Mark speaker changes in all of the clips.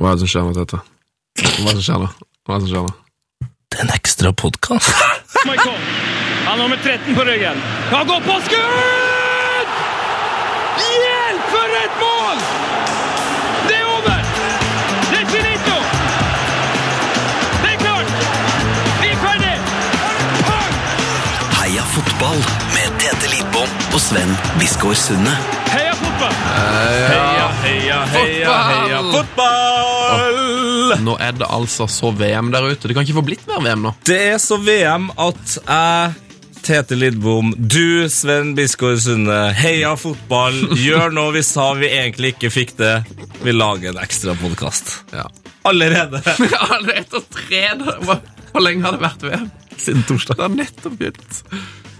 Speaker 1: Hva er det som skjer med dette? Hva er det som skjer nå? Hva er det som skjer nå?
Speaker 2: Det er en ekstra podkast.
Speaker 3: Michael. Han har nummer 13 på ryggen. Han går på skudd! Hjelp for et mål! Det er over! Det er finito! Det er klart! Vi er ferdig!
Speaker 2: Heia fotball med Tete Lidbom og Sven Biskår Sunde.
Speaker 3: Heia fotball!
Speaker 4: Heia, heia, heia, heia, fotball!
Speaker 1: Nå er det altså så VM der ute. Det kan ikke få blitt mer VM nå.
Speaker 4: Det er så VM at jeg, Tete Lidbom, du, Sven Biskår Sunde, heia fotball, gjør noe vi sa vi egentlig ikke fikk det. Vi lager en ekstra podkast.
Speaker 1: Ja.
Speaker 4: Allerede.
Speaker 1: Ja, det er ett og tre da. Hvor, hvor lenge har det vært VM? Siden torsdag. Det har nettopp begynt.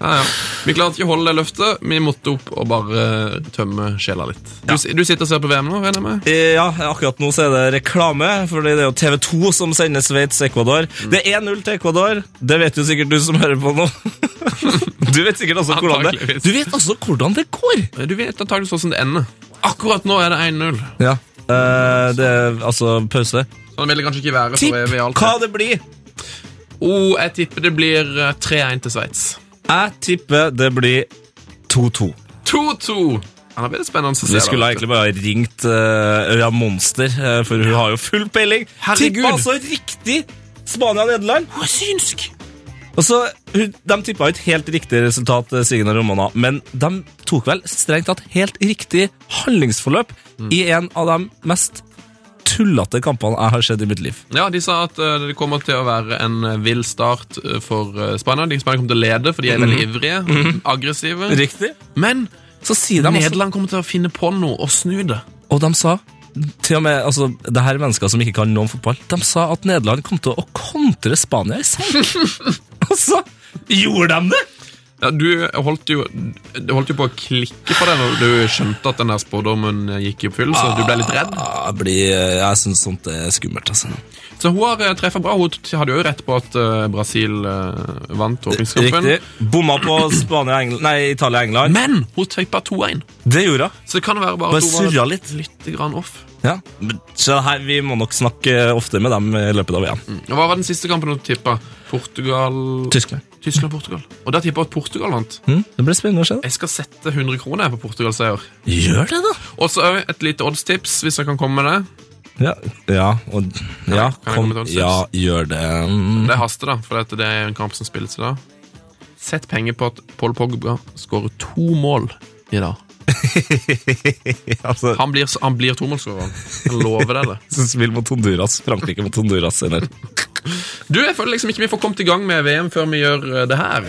Speaker 1: Ja, ja. Vi klarte ikke å holde det løftet. Vi måtte opp og bare eh, tømme sjela litt. Du, si- du sitter og ser på VM nå, regner jeg med?
Speaker 4: Eh, Ja, akkurat nå så er det reklame, for det er jo TV2 som sender Sveits-Ecuador. Det er 1-0 til Ecuador. Det vet jo sikkert du som hører på nå. Du vet sikkert også hvordan det,
Speaker 1: Antakeligvis.
Speaker 4: du vet også hvordan det går.
Speaker 1: Eh, Du vet antakeligvis hvordan det ender. Akkurat nå er det 1-0.
Speaker 4: Ja. eh, det er altså pause.
Speaker 1: Sånn vil det kanskje ikke være.
Speaker 4: Tipp
Speaker 1: for vi er alt.
Speaker 4: hva det blir.
Speaker 1: Oh, jeg tipper det blir eh, 3-1 til Sveits.
Speaker 4: Jeg tipper det blir 2-2.
Speaker 1: 2-2. Ja, da blir det spennende å se.
Speaker 4: Vi
Speaker 1: da,
Speaker 4: skulle
Speaker 1: vet du.
Speaker 4: egentlig bare ha ringt eh, Ørja Monster, eh, for hun har jo full peiling.
Speaker 1: Herregud.
Speaker 4: Tippa altså riktig Spania-Nederland.
Speaker 1: Hun er synsk!
Speaker 4: Og så, hun, De tippa jo et helt riktig resultat, eh, Siggen og Romana, men de tok vel strengt tatt helt riktig handlingsforløp
Speaker 1: Mm.
Speaker 4: i en av de mest tullete kampene jeg har sett i mitt liv.
Speaker 1: Ja, De sa at eh, det kommer til å være en eh, vill start eh, for eh, Spania. De Spania kommer til å lede, for de er veldig ivrige, aggressive.
Speaker 4: Riktig.
Speaker 1: Mhm. Men
Speaker 4: Så sier de også
Speaker 1: Nederland kommer til å finne på noe og snu det.
Speaker 4: Og de sa til og med, altså, det her er mennesker som ikke kan noe om fotball. De sa at Nederland kom til å kontre Spania i senk. og så gjorde de det!
Speaker 1: Ja, du holdt jo, du holdt jo på å klikke på det når du skjønte at den der spådommen eh, gikk i oppfyllelse. Du ble litt redd.
Speaker 4: Jeg, blir, Ah, eh, jeg syns sånt er skummelt, altså.
Speaker 1: Så hun har eh, treffet bra. Hun t- hadde jo rett på at eh, Brasil eh, vant
Speaker 4: Riktig.
Speaker 1: åpningskampen.
Speaker 4: Bomma på Spania, Engl- nei, Italia og England.
Speaker 1: Men hun tippa 2-1,
Speaker 4: Det gjorde hun.
Speaker 1: så det kan være bare
Speaker 4: Bare
Speaker 1: at hun var
Speaker 4: surra litt.
Speaker 1: litt grann off.
Speaker 4: Ja. Men Så her, vi må nok snakke ofte med dem eh, i løpet av VM.
Speaker 1: Og Hva var den siste kampen du tippa? Portugal
Speaker 4: Tyskland.
Speaker 1: Tyskland-Portugal. Og der tippa jeg at Portugal vant.
Speaker 4: Mm, det blir spennende å se. da.
Speaker 1: Jeg skal sette 100 kroner på Portugal-seier.
Speaker 4: Gjør det, da!
Speaker 1: Og så òg et lite oddstips, hvis jeg kan komme med det.
Speaker 4: Ja, ja, og, ja,
Speaker 1: Kan jeg komme
Speaker 4: kom,
Speaker 1: med et annet tips?
Speaker 4: ja gjør det. Mm.
Speaker 1: Det haster, da, for dette, det er en kamp som spilles i dag. Sett penger på at Paul Pogba skårer to mål i dag.
Speaker 4: Altså,
Speaker 1: Han blir, han blir tomålsskåreren. Jeg lover deg det.
Speaker 4: spill mot Honduras. Frankrike mot Honduras. Eller?
Speaker 1: Du, Jeg føler liksom ikke vi får kommet i gang med VM før vi gjør eh, det her.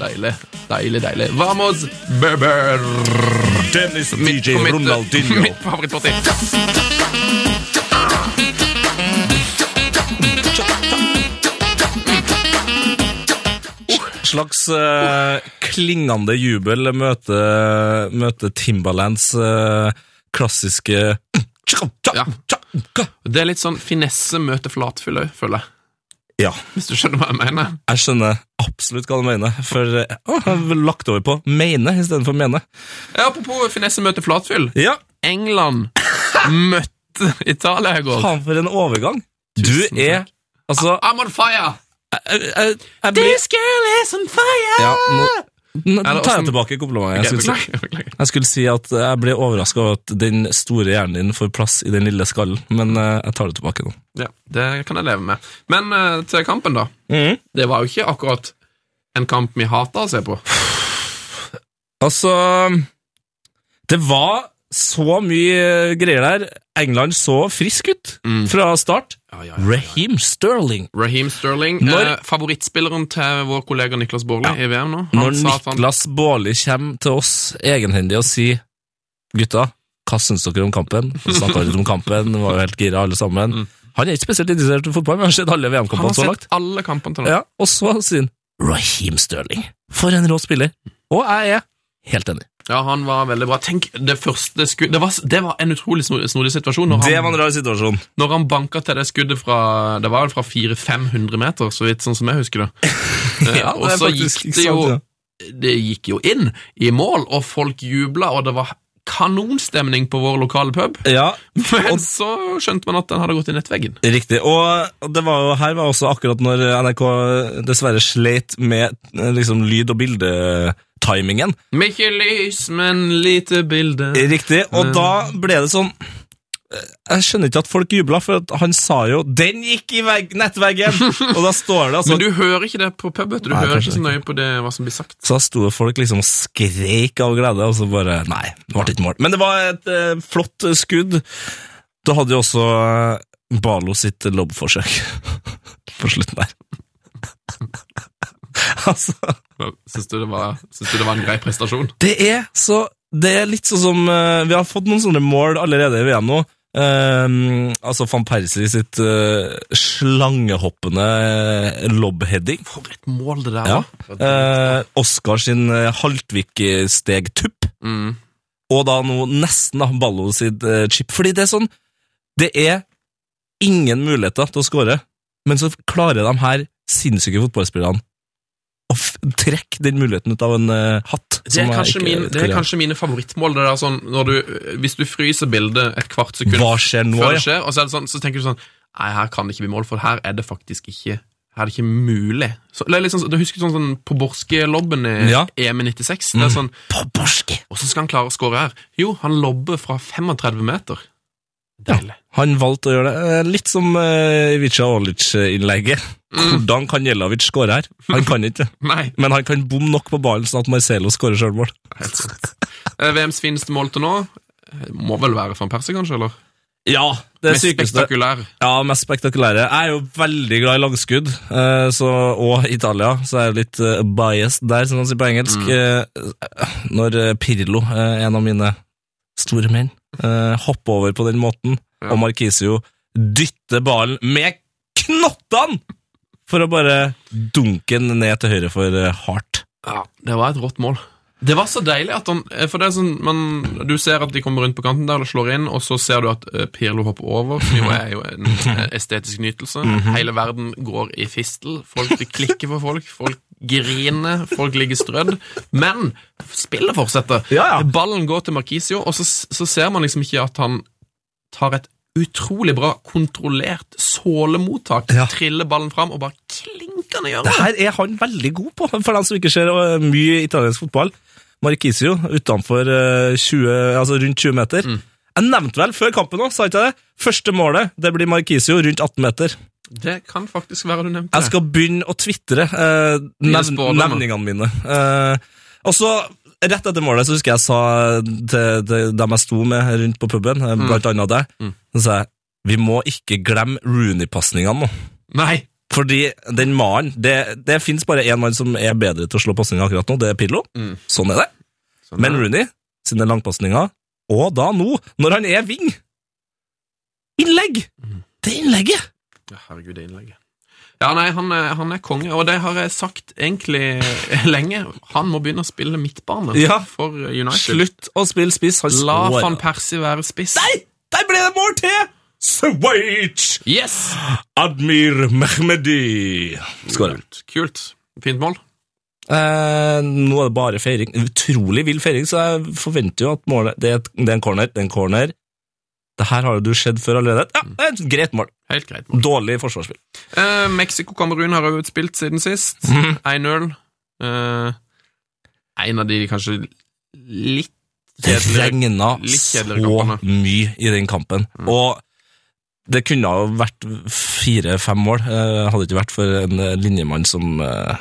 Speaker 1: Deilig. Deilig, deilig. Vamos, beber!
Speaker 4: Dennis
Speaker 1: Mitt-
Speaker 4: DJ
Speaker 1: på mitt-
Speaker 4: Ronaldinho.
Speaker 1: Mitt favorittparti.
Speaker 4: slags eh, klingende jubel møter møte Timbalands eh, klassiske
Speaker 1: Ja. Det er litt sånn finesse møter flatfylle, føler jeg.
Speaker 4: Ja,
Speaker 1: Hvis du skjønner hva jeg mener.
Speaker 4: jeg skjønner absolutt hva du mener. For eh, å, jeg har lagt over på mene istedenfor mene.
Speaker 1: Ja, apropos finesse møter flatfyll.
Speaker 4: Ja,
Speaker 1: England møtte Italia i går.
Speaker 4: faen for en overgang! Du
Speaker 1: Tusen Ah,
Speaker 4: er Eh, Altså
Speaker 1: I'm on fire!
Speaker 4: jeg, jeg, jeg blir
Speaker 1: girl is on fire!
Speaker 4: ja, nå, nå
Speaker 1: Er det
Speaker 4: tar
Speaker 1: også-
Speaker 4: jeg tilbake komplimentet. Jeg skulle si.
Speaker 1: beklager, beklager.
Speaker 4: Jeg skulle si at jeg ble overraska over at den store hjernen din får plass i den lille skallen, men eh, jeg tar det tilbake nå.
Speaker 1: Ja, det kan jeg leve med. Men eh, til kampen, da.
Speaker 4: Mm.
Speaker 1: Det var jo ikke akkurat en kamp vi hata å se på.
Speaker 4: Altså Det var så mye greier der. England så frisk ut fra start. Raheem Sterling.
Speaker 1: Raheem Sterling,
Speaker 4: Når-
Speaker 1: eh, favorittspilleren til vår kollega Niklas Baarli i VM nå Han
Speaker 4: Når
Speaker 1: sa at han
Speaker 4: Niklas Baarli kommer til oss egenhendig og sier Gutta, hva syns dere om kampen? Vi snakka litt om kampen, var jo helt gira alle sammen. Mm. Han er ikke spesielt interessert i fotball, men han har sett alle
Speaker 1: han har
Speaker 4: VM-kampene så
Speaker 1: sett
Speaker 4: langt.
Speaker 1: alle kampene til nå.
Speaker 4: Ja, og så sier han Raheem Sterling. For en rå spiller. Og jeg er helt enig.
Speaker 1: Ja, han var veldig bra. Tenk, Det første sku... det, var, det var en utrolig sno- snodig situasjon. Når
Speaker 4: Det
Speaker 1: han,
Speaker 4: var en rar situasjon.
Speaker 1: når han banka til det skuddet fra Det var vel fra 400-500 meter, så vidt sånn som jeg husker det. Eh,
Speaker 4: Ja,
Speaker 1: og
Speaker 4: det er
Speaker 1: så
Speaker 4: faktisk
Speaker 1: gikk
Speaker 4: ikke
Speaker 1: det jo
Speaker 4: sant,
Speaker 1: Det gikk jo inn i mål, og folk jubla, og det var kanonstemning på vår lokale pub.
Speaker 4: Ja,
Speaker 1: Men så skjønte man at den hadde gått i nettveggen.
Speaker 4: Riktig. Og det var jo, her var også akkurat når NRK dessverre sleit med eh, liksom, lyd- og bildetimingen.
Speaker 1: Mykje lys, men lite bilde.
Speaker 4: Riktig. Og da ble det sånn eh, Jeg skjønner ikke at folk jubla, for at han sa jo 'den gikk i vegg, nettveggen'! og da står det altså
Speaker 1: Men du hører ikke det på pub, vet du. Du
Speaker 4: Nei,
Speaker 1: hører
Speaker 4: kanskje
Speaker 1: ikke så nøye på det, hva som blir sagt.
Speaker 4: Så da sto det folk liksom og skreik av glede, og så bare Nei, det ble ikke mål. Men det var et eh, flott eh, skudd. Da hadde jo også eh, Balo sitt lobbforsøk på slutten der. altså
Speaker 1: Syns du, det var- syns du det var en grei prestasjon?
Speaker 4: Det er så Det er litt sånn som eh, Vi har fått noen sånne mål allerede i VM nå. Eh, altså van Persie sitt eh, slangehoppende eh, lobheading.
Speaker 1: For et mål det der
Speaker 4: Ja.
Speaker 1: var.
Speaker 4: Eh, Oskar sin eh, Haltvik-stegtupp.
Speaker 1: Mm.
Speaker 4: Og da nå nesten da, Ballo sitt eh, chip. Fordi det er sånn Det er ingen muligheter til å skåre, men så klarer de her sinnssyke fotballspillerne å f trekke den muligheten ut av en eh, hatt.
Speaker 1: Det er,
Speaker 4: som jeg
Speaker 1: kanskje
Speaker 4: ikke
Speaker 1: min,
Speaker 4: vet
Speaker 1: det
Speaker 4: hvor
Speaker 1: er kanskje mine favorittmål. Det der sånn, når du, hvis du fryser bildet et kvart sekund
Speaker 4: Hva skjer nå,
Speaker 1: før
Speaker 4: ja?
Speaker 1: det skjer, og så, er det sånn, så tenker du sånn Nei, her kan det ikke bli mål, for her er det faktisk ikke Her er det ikke mulig. Så, det er litt sånn, du husker sånn, sånn på Borske-lobben i
Speaker 4: Ja. Mm.
Speaker 1: EM i 96? Det er sånn
Speaker 4: På borske!
Speaker 1: Og så skal han klare å skåre her. Jo, han lobber fra 35 meter. Deilig.
Speaker 4: Han valgte å gjøre det. Eh, Litt som uh, Ivica Olic-innlegget.
Speaker 1: Mm.
Speaker 4: Hvordan kan Jelavic skåre her? Han kan ikke,
Speaker 1: Nei,
Speaker 4: men han kan bomme nok på ballen sånn at Marcelo skårer sjølmål.
Speaker 1: helt sant. Eh, VMs fineste mål til nå eh, må vel være van Persie, kanskje? eller?
Speaker 4: Ja, det
Speaker 1: Mest
Speaker 4: sykeste.
Speaker 1: spektakulær.
Speaker 4: Ja, mest spektakulære. Jeg er jo veldig glad i langskudd, eh, så, og Italia, så er jeg jo litt eh, biased der, som de sier på engelsk. Eh, når eh, Pirlo, eh, en av mine store menn, eh, hopper over på den måten,
Speaker 1: Ja.
Speaker 4: og Marquisio dytter ballen med knottene for å bare dunke den ned til høyre for eh, Hart.
Speaker 1: Ja, det var et rått mål. Det var så deilig at han eh, For det er sånn, man, Du ser at de kommer rundt på kanten der og slår inn, og så ser du at eh, Pirlo hopper over, som jo er jo en eh, estetisk nytelse.
Speaker 4: Mhm.
Speaker 1: Hele verden går i fistel. Folk det klikker for folk. Folk griner. Folk ligger strødd. Men spillet fortsetter.
Speaker 4: Ja, ja.
Speaker 1: Ballen går til Markisio, og så, så ser man liksom ikke at han tar et utrolig bra kontrollert sålemottak,
Speaker 4: Ja.
Speaker 1: triller ballen fram og bare klinker ned i
Speaker 4: Det
Speaker 1: hjørnet.
Speaker 4: her er han veldig god på, for dem som ikke ser eh, mye italiensk fotball. Marquisio utenfor eh, 20, altså rundt 20 meter. Jeg nevnte vel før kampen òg, sa ikke jeg det? Første målet det blir Marquisio rundt 18 meter.
Speaker 1: Det kan faktisk være du nevnte
Speaker 4: Jeg skal begynne å tvitre eh,
Speaker 1: Mine
Speaker 4: nevn,
Speaker 1: spådommer.
Speaker 4: nevningene mine. Eh, og så, rett etter målet, så husker jeg jeg sa til, til dem jeg sto med rundt på puben, eh, blant annet deg, så sa jeg vi må ikke glemme Rooney-pasningene nå.
Speaker 1: Nei.
Speaker 4: Fordi den mannen Det, det fins bare én mann som er bedre til å slå pasninger akkurat nå, det er Pirlo.
Speaker 1: Mm.
Speaker 4: Sånn er det. Men Rooney, sine langpasninger, og da nå, når han er wing Innlegg!
Speaker 1: Mm.
Speaker 4: Det innlegget!
Speaker 1: Ja, herregud, det innlegget. Ja, nei, han er, han er konge, og det har jeg sagt egentlig lenge. Han må begynne å spille midtbane
Speaker 4: Ja.
Speaker 1: for United.
Speaker 4: Slutt å spille spiss. Han
Speaker 1: La
Speaker 4: slår.
Speaker 1: van Persie være spiss.
Speaker 4: Nei! Der ble det mål til! Sveits!
Speaker 1: Yes!
Speaker 4: Admir Mehmedi skåra.
Speaker 1: Kult. Kult. Fint mål.
Speaker 4: Eh, nå er det bare feiring. Utrolig vill feiring, så jeg forventer jo at målet Det er, et- det er en corner, det er en corner. Det her har jo du sett før allerede. Ja, det er et greit mål.
Speaker 1: Helt greit.
Speaker 4: Dårlig forsvarsspill.
Speaker 1: Eh, Mexico-Kamerun har også utspilt siden sist.
Speaker 4: Mhm.
Speaker 1: 1-0. Eh, en av de kanskje litt
Speaker 4: Det
Speaker 1: kjedeligere
Speaker 4: regna
Speaker 1: litt
Speaker 4: så
Speaker 1: kjedeligere Mm. kampene.
Speaker 4: mye i den kampen. Og det kunne ha vært fire-fem mål, eh, hadde det ikke vært for en eh, linjemann som eh,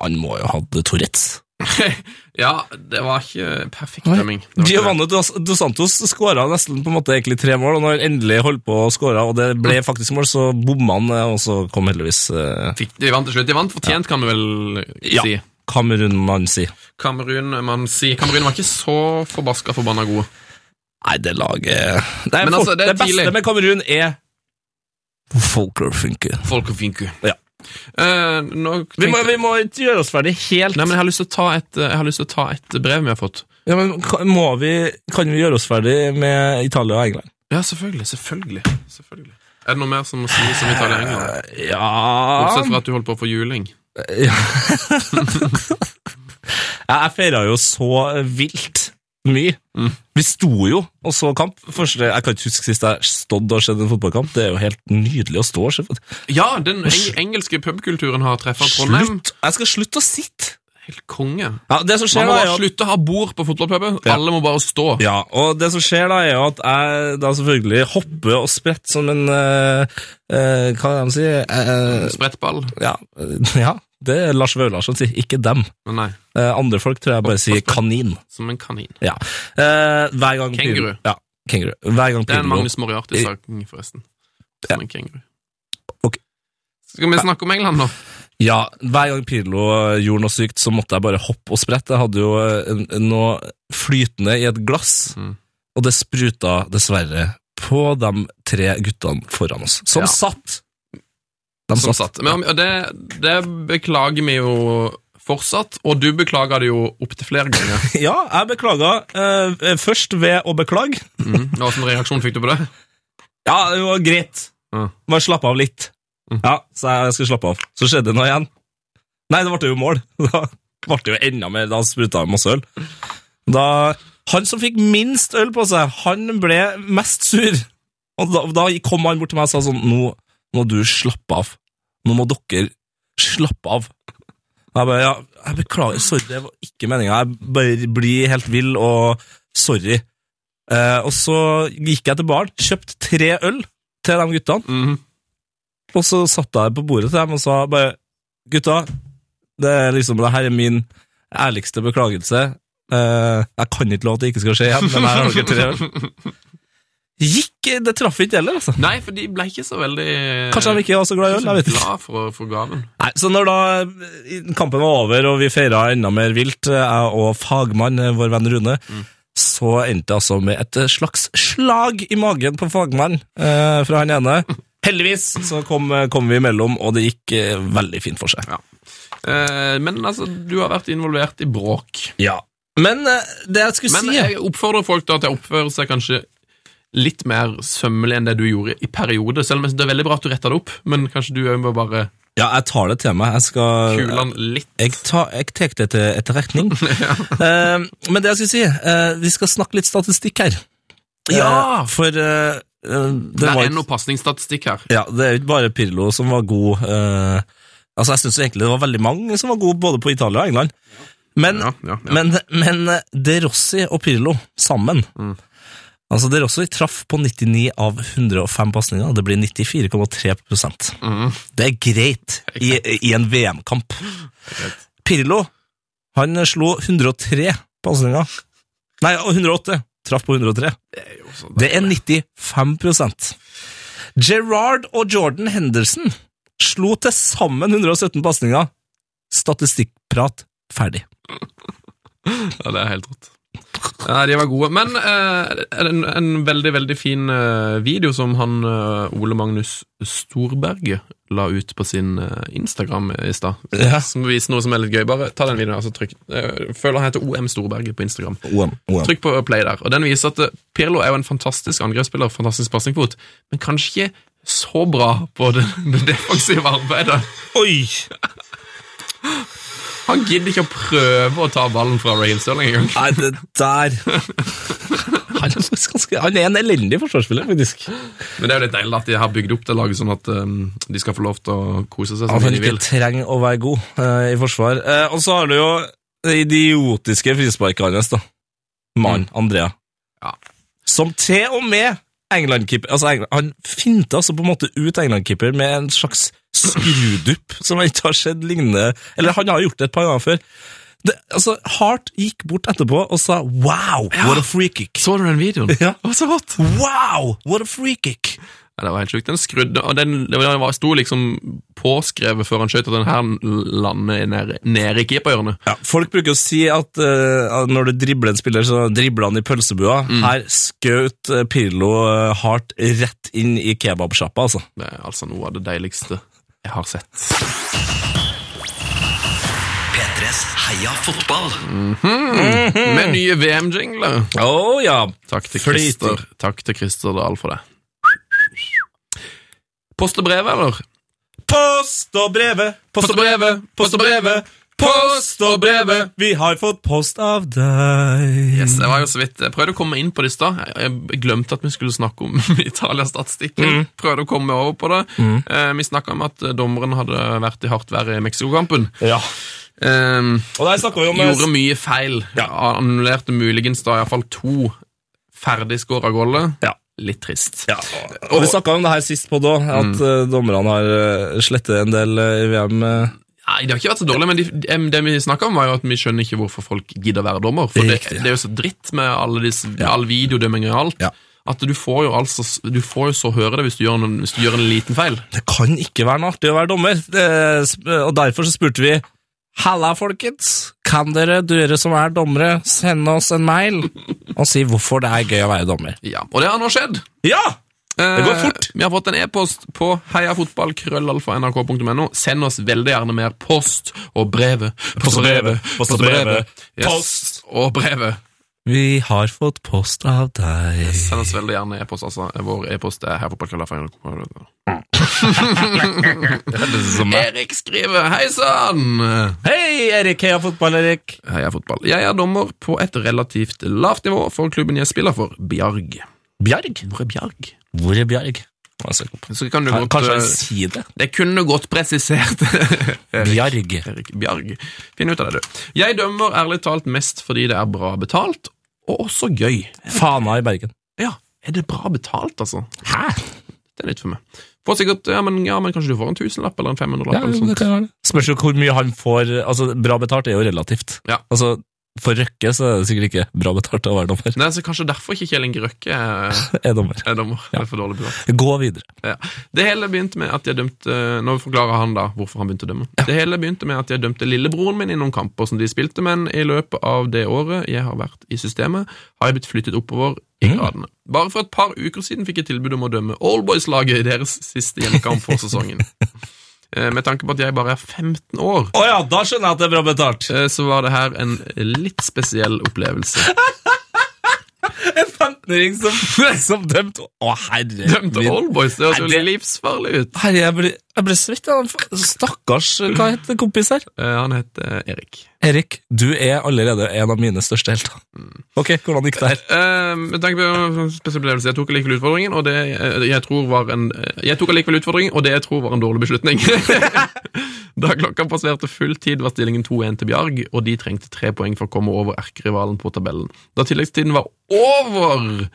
Speaker 4: Han må jo ha hatt Tourettes.
Speaker 1: Ja, det var ikke perfekt
Speaker 4: Nei.
Speaker 1: dømming. Det var ikke det.
Speaker 4: Giovanni Dos Dos Santos skåra nesten på en måte egentlig tre mål, og når han endelig holdt på å skåre, og det ble faktisk mål, så bomma han, eh, og så kom heldigvis eh,
Speaker 1: Fikk, de vant til slutt. De vant fortjent, kan vi vel
Speaker 4: Ja.
Speaker 1: si.
Speaker 4: Kamerun Mansi.
Speaker 1: Kamerun eh, man sier, Kamerun var ikke så forbaska forbanna gode.
Speaker 4: Nei, det laget eh, Det, er
Speaker 1: Men
Speaker 4: fort-
Speaker 1: altså, det er
Speaker 4: det beste
Speaker 1: tidlig.
Speaker 4: med Kamerun er Folker funker.
Speaker 1: Folk og Finku.
Speaker 4: Ja.
Speaker 1: Eh, nå
Speaker 4: Vi må,
Speaker 1: tenkte-
Speaker 4: vi må ikke gjøre oss ferdig helt.
Speaker 1: Nei, men jeg har lyst til å ta et, eh, jeg har lyst til å ta et brev vi har fått.
Speaker 4: Ja, men kan, må vi, kan vi gjøre oss ferdig med Italia og England?
Speaker 1: Ja, selvfølgelig. Selvfølgelig. selvfølgelig. Er det noe mer som må sies om Italia og England?
Speaker 4: Ja
Speaker 1: Bortsett fra at du holdt på å få juling.
Speaker 4: Ja, Jeg feira jo så vilt mye. Vi sto jo og så kamp. Første, jeg kan ikke huske sist jeg stått og sett en fotballkamp. Det er jo helt nydelig å stå og se. på.
Speaker 1: Ja, den eng engelske pubkulturen har treffa Trondheim.
Speaker 4: Slutt! Jeg skal slutte å sitte!
Speaker 1: Helt konge.
Speaker 4: Ja, det som
Speaker 1: Man
Speaker 4: skjer
Speaker 1: må
Speaker 4: da,
Speaker 1: bare
Speaker 4: er at,
Speaker 1: slutte å ha bord på fotballpuben.
Speaker 4: Ja.
Speaker 1: Alle må bare stå.
Speaker 4: ja, og det som skjer da, er jo at jeg da selvfølgelig hopper og spretter som en eh, eh, Hva er det de sier? Eh,
Speaker 1: Sprettball.
Speaker 4: ja, eh, ja, det er Lars Vaular som sier. Ikke dem.
Speaker 1: Men nei,
Speaker 4: Eh, andre folk tror jeg bare sier kanin.
Speaker 1: som en kanin.
Speaker 4: Ja. Eh, hver gang
Speaker 1: Kenguru.
Speaker 4: Ja, kenguru. Hver gang
Speaker 1: Det er en
Speaker 4: Pirlo-
Speaker 1: Magnus Moriarty-sak, forresten. Som en kenguru.
Speaker 4: Ok.
Speaker 1: Skal vi snakke om England nå?
Speaker 4: Ja, hver gang Pirlo eh, gjorde noe sykt, så måtte jeg bare hoppe og sprette. Jeg hadde jo eh, en- en- noe flytende i et glass,
Speaker 1: Mm.
Speaker 4: og det spruta dessverre på de tre guttene foran oss, som
Speaker 1: Ja.
Speaker 4: satt. De
Speaker 1: Som satt. Men, og det, det beklager vi jo fortsatt, og du beklager det jo opptil flere ganger.
Speaker 4: Ja, jeg beklaga eh, først ved å beklage.
Speaker 1: Mm. Hva slags reaksjon fikk du på det?
Speaker 4: Ja, det var greit.
Speaker 1: Ja.
Speaker 4: Bare slappe av litt.
Speaker 1: Mm.
Speaker 4: Ja, så jeg skal slappe av. Så skjedde det noe igjen. Nei, det ble jo mål. Da ble det jo enda mer. Da spruta jeg masse øl. Da, han som fikk minst øl på seg, han ble mest sur. Og da, da kom han bort til meg og sa sånn Nå må du slappe av. Nå må dere slappe av. Og Jeg bare, ja, jeg beklager, sorry, det var ikke meninga. Jeg bare blir helt vill, og sorry. Eh, og så gikk jeg til baren, kjøpte tre øl til de guttene.
Speaker 1: Mhm.
Speaker 4: Og så satt jeg på bordet til dem og sa bare Gutta, det, er liksom, det her er min ærligste beklagelse. Eh, jeg kan ikke love at det ikke skal skje igjen, men her har dere tre øl. Gikk, Det traff ikke heller, altså.
Speaker 1: Nei, for de ble ikke så veldig
Speaker 4: Kanskje de ikke var så glad i øl? jeg vet ikke.
Speaker 1: glad for, for gaven.
Speaker 4: Nei, så når da eh, kampen var over og vi feira enda mer vilt, eh, jeg og fagmann, eh, vår venn Rune, så endte det altså med et eh, slags slag i magen på fagmann eh, fra han ene. Heldigvis så kom, eh, kom vi imellom, og det gikk eh, veldig fint for seg.
Speaker 1: Eh, men altså, du har vært involvert i bråk.
Speaker 4: Ja. Men eh, det jeg skulle
Speaker 1: Men
Speaker 4: si
Speaker 1: jeg oppfordrer folk da til å oppføre seg kanskje litt mer sømmelig enn det du gjorde i periode, selv om jeg synes det er veldig bra at du retta det opp, men kanskje du òg må bare
Speaker 4: Ja, jeg tar det til meg. Jeg skal
Speaker 1: kule den litt.
Speaker 4: Jeg, tar, jeg tar det til etterretning. Eh, men det jeg skulle si eh, Vi skal snakke litt statistikk her. Eh, for eh, eh, det,
Speaker 1: Det
Speaker 4: var
Speaker 1: er
Speaker 4: ikke-
Speaker 1: noe pasningsstatistikk her.
Speaker 4: Ja, det er jo ikke bare Pirlo som var god eh, Altså, jeg syns egentlig det var veldig mange som var gode både på Italia og England. Men,
Speaker 1: Ja, ja, ja.
Speaker 4: men, men eh, De Rossi og Pirlo sammen
Speaker 1: Mm.
Speaker 4: Altså, De Rossi traff på 99 av 105 pasninger. Det blir 94,3
Speaker 1: Mm.
Speaker 4: Det er greit i, i en VM-kamp. Pirlo han slo 103 pasninger. Nei, 108. Traff på 103.
Speaker 1: Det er jo sånn.
Speaker 4: Det er 95 Gerard og Jordan Henderson slo til sammen 117 pasninger. Statistikkprat ferdig.
Speaker 1: Ja, det er helt rått. Ja, de var gode. Men eh, en, en veldig, veldig fin eh, video som han eh, Ole Magnus Storberget la ut på sin eh, Instagram i stad,
Speaker 4: Ja.
Speaker 1: som viser noe som er litt gøy. Bare ta den videoen. altså trykk. eh, føler han heter OM Storberget på Instagram.
Speaker 4: OM, OM.
Speaker 1: Trykk på play der. Og den viser at eh, Pirlo er jo en fantastisk angrepsspiller, fantastisk passingfot, men kanskje ikke så bra på det, det defensive arbeidet.
Speaker 4: Oi!
Speaker 1: Han gidder ikke å prøve å ta ballen fra Raheem Sterling engang.
Speaker 4: Nei, det der Han er, faktisk ganske, han er en elendig forsvarsspiller, faktisk.
Speaker 1: Men det er jo litt deilig at de har bygd opp det laget sånn at um, de skal få lov til å kose seg som
Speaker 4: At han
Speaker 1: de
Speaker 4: ikke
Speaker 1: vil.
Speaker 4: trenger å være god eh, i forsvar. Eh, og så har du jo det idiotiske frisparket hans, da. Mann, Andrea.
Speaker 1: Ja.
Speaker 4: Som til og med England-keeper altså England, Han finta altså på en måte ut England-keeper med en slags skrudupp som jeg ikke har sett lignende Eller han har gjort det et par ganger før. Det, altså, Hart gikk bort etterpå og sa 'wow, what a free kick'.
Speaker 1: Så du den videoen?
Speaker 4: Ja.
Speaker 1: Det var så rått!
Speaker 4: Wow, what a free kick!
Speaker 1: Ja, det var helt sjukt. Den skrudde, og den, det var, den var- sto liksom påskrevet før han skjøt at den her lander nede, nede i keeperhjørnet.
Speaker 4: Ja, folk bruker å si at eh, når du dribler en spiller, så dribler han i pølsebua. Her skjøt eh, Pirlo eh, hardt rett inn i kebabsjappa, altså.
Speaker 1: Det er altså noe av det deiligste jeg har sett.
Speaker 2: P3s Heia fotball.
Speaker 1: Med nye VM-jingler.
Speaker 4: Å ja.
Speaker 1: Takk til
Speaker 4: Flyting.
Speaker 1: Christer, takk til Christer Dahl for det. Post og brev, eller?
Speaker 4: Post og brevet, post og brevet, post og brevet, post og brevet. Vi har fått post av deg.
Speaker 1: Yes, jeg var jo så vidt Jeg prøvde å komme inn på det i stad. Jeg- Jeg glemte at vi skulle snakke om
Speaker 4: Mm.
Speaker 1: Italia-statistikken. Prøvde å komme over på det. Eh, vi snakka om at eh, dommeren hadde vært i hardt vær i Mexico-kampen.
Speaker 4: Ja.
Speaker 1: Eh,
Speaker 4: Og der snakker vi om
Speaker 1: gjorde mye feil.
Speaker 4: Ja.
Speaker 1: Annullerte muligens da iallfall to ferdigskåra goller.
Speaker 4: Ja.
Speaker 1: Litt trist.
Speaker 4: Ja, og og vi snakka om det her sist på da, at eh, dommerne har eh, slettet en del eh, i VM. eh.
Speaker 1: Nei, Det har ikke vært så dårlig, men de, em, det vi snakka om, var jo at vi skjønner ikke hvorfor folk gidder å være dommer. For det,
Speaker 4: Riktig, ja.
Speaker 1: det er jo så dritt med alle disse, all videodømming og alt.
Speaker 4: Ja.
Speaker 1: At du får jo altså Du får jo så høre det hvis du gjør, noen, hvis du gjør en liten feil.
Speaker 4: Det kan ikke være noe artig å være dommer, Eh, sp- og derfor så spurte vi Halla, folkens! Kan dere, dere som er dommere, sende oss en mail og si hvorfor det er gøy å være dommer?
Speaker 1: Ja, Og det har nå skjedd.
Speaker 4: Ja!
Speaker 1: Det
Speaker 4: går fort.
Speaker 1: Vi har fått en e-post på heiafotballkrøllalfa.nrk.no. Send oss veldig gjerne mer post og brevet. Post og brevet.
Speaker 4: Post og brevet.
Speaker 1: Yes.
Speaker 4: Post.
Speaker 1: og brevet.
Speaker 4: Vi har fått post av deg.
Speaker 1: Send oss veldig gjerne e-post. altså. Vår e-post er heiafotballkrøllalfa.nrk.no. Erik skriver Hei sann!
Speaker 4: Hei, Erik Heia Fotball-Erik.
Speaker 1: Heia fotball. Jeg er dommer på et relativt lavt nivå for klubben jeg spiller for, Bjarg.
Speaker 4: Bjerg?
Speaker 1: Hvor er Bjarg?
Speaker 4: Hvor er Bjerg? Altså,
Speaker 1: Så kan du godt,
Speaker 4: Kanskje han
Speaker 1: eh,
Speaker 4: sier det?
Speaker 1: det kunne godt presisert.
Speaker 4: Bjerg.
Speaker 1: Erik Bjarg. Finn ut av det, du. Jeg dømmer ærlig talt mest fordi det er bra betalt, og også gøy.
Speaker 4: Fana i Bergen.
Speaker 1: Ja, er det bra betalt, altså?
Speaker 4: Hæ?
Speaker 1: Det er nytt for meg. Får sikkert, ja, men, ja, men kanskje du får en tusenlapp eller en 500-lapp?
Speaker 4: Ja,
Speaker 1: eller
Speaker 4: det
Speaker 1: sånt.
Speaker 4: kan være det. Spørs jo hvor mye han får Altså, bra betalt er jo relativt.
Speaker 1: Ja.
Speaker 4: Altså, for Røkke så er det sikkert ikke bra betalt å være dommer.
Speaker 1: Nei, så Kanskje derfor ikke Kjell Inge Røkke er
Speaker 4: Er dommer.
Speaker 1: er dommer. Det er for dårlig betalt.
Speaker 4: Gå videre.
Speaker 1: Ja. Det hele begynte med at jeg dømte eh, Nå forklarer han da hvorfor han begynte å dømme. Det hele begynte med at jeg dømte lillebroren min i noen kamper som de spilte, men i løpet av det året jeg har vært i systemet, har jeg blitt flyttet oppover i
Speaker 4: Mm.
Speaker 1: gradene. Bare for et par uker siden fikk jeg tilbud om å dømme Allboys-laget i deres siste hjemmekamp for sesongen. Eh, Med tanke på at jeg bare er 15 år,
Speaker 4: Å ja, da skjønner jeg at det er bra betalt.
Speaker 1: eh, så var det her en litt spesiell opplevelse.
Speaker 4: En 15-åring som, som dømt Å, herre
Speaker 1: Dømte
Speaker 4: min.
Speaker 1: Allboys, det
Speaker 4: Nei,
Speaker 1: høres jo
Speaker 4: det-
Speaker 1: livsfarlig ut.
Speaker 4: Herre, jeg ble, jeg ble svett. ja. Stakkars Hva heter kompis her?
Speaker 1: Eh, Han heter Erik.
Speaker 4: Erik, du er allerede en av mine største helter. Ok, hvordan gikk det her?
Speaker 1: Eh, Med tanke på en spesiell opplevelse, jeg tok allikevel utfordringen, og det eh, jeg tror var en eh, Jeg tok allikevel utfordringen, og det jeg tror var en dårlig beslutning. da klokka passerte full tid, var stillingen 2-1 til Bjarg, og de trengte tre poeng for å komme over erkerivalen på tabellen. Da tilleggstiden var over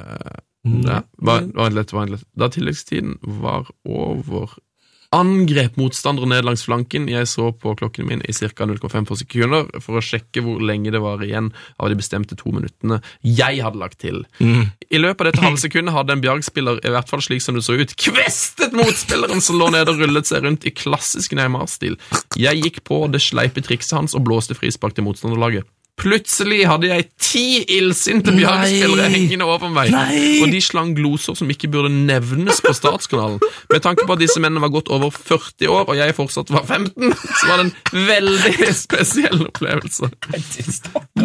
Speaker 1: Eh, ja, var, var en lett, var en lett. Da tilleggstiden var over Angrep motstanderen ned langs flanken. Jeg så på klokken min i ca. 0,5 for sekunder for å sjekke hvor lenge det var igjen av de bestemte to minuttene jeg hadde lagt til.
Speaker 4: Mm.
Speaker 1: I løpet av dette halve sekundet hadde en Bjarg-spiller, i hvert fall slik som det så ut, kvestet motspilleren som lå nede og rullet seg rundt i klassisk Neymar-stil. Jeg gikk på det sleipe trikset hans og blåste frispark til motstanderlaget. Plutselig hadde jeg ti illsinte Bjarg-spillere
Speaker 4: Nei.
Speaker 1: hengende over meg,
Speaker 4: Nei.
Speaker 1: og de slang gloser som ikke burde nevnes på Statskanalen. Med tanke på at disse mennene var godt over 40 år, og jeg fortsatt var 15, så var det en veldig spesiell opplevelse.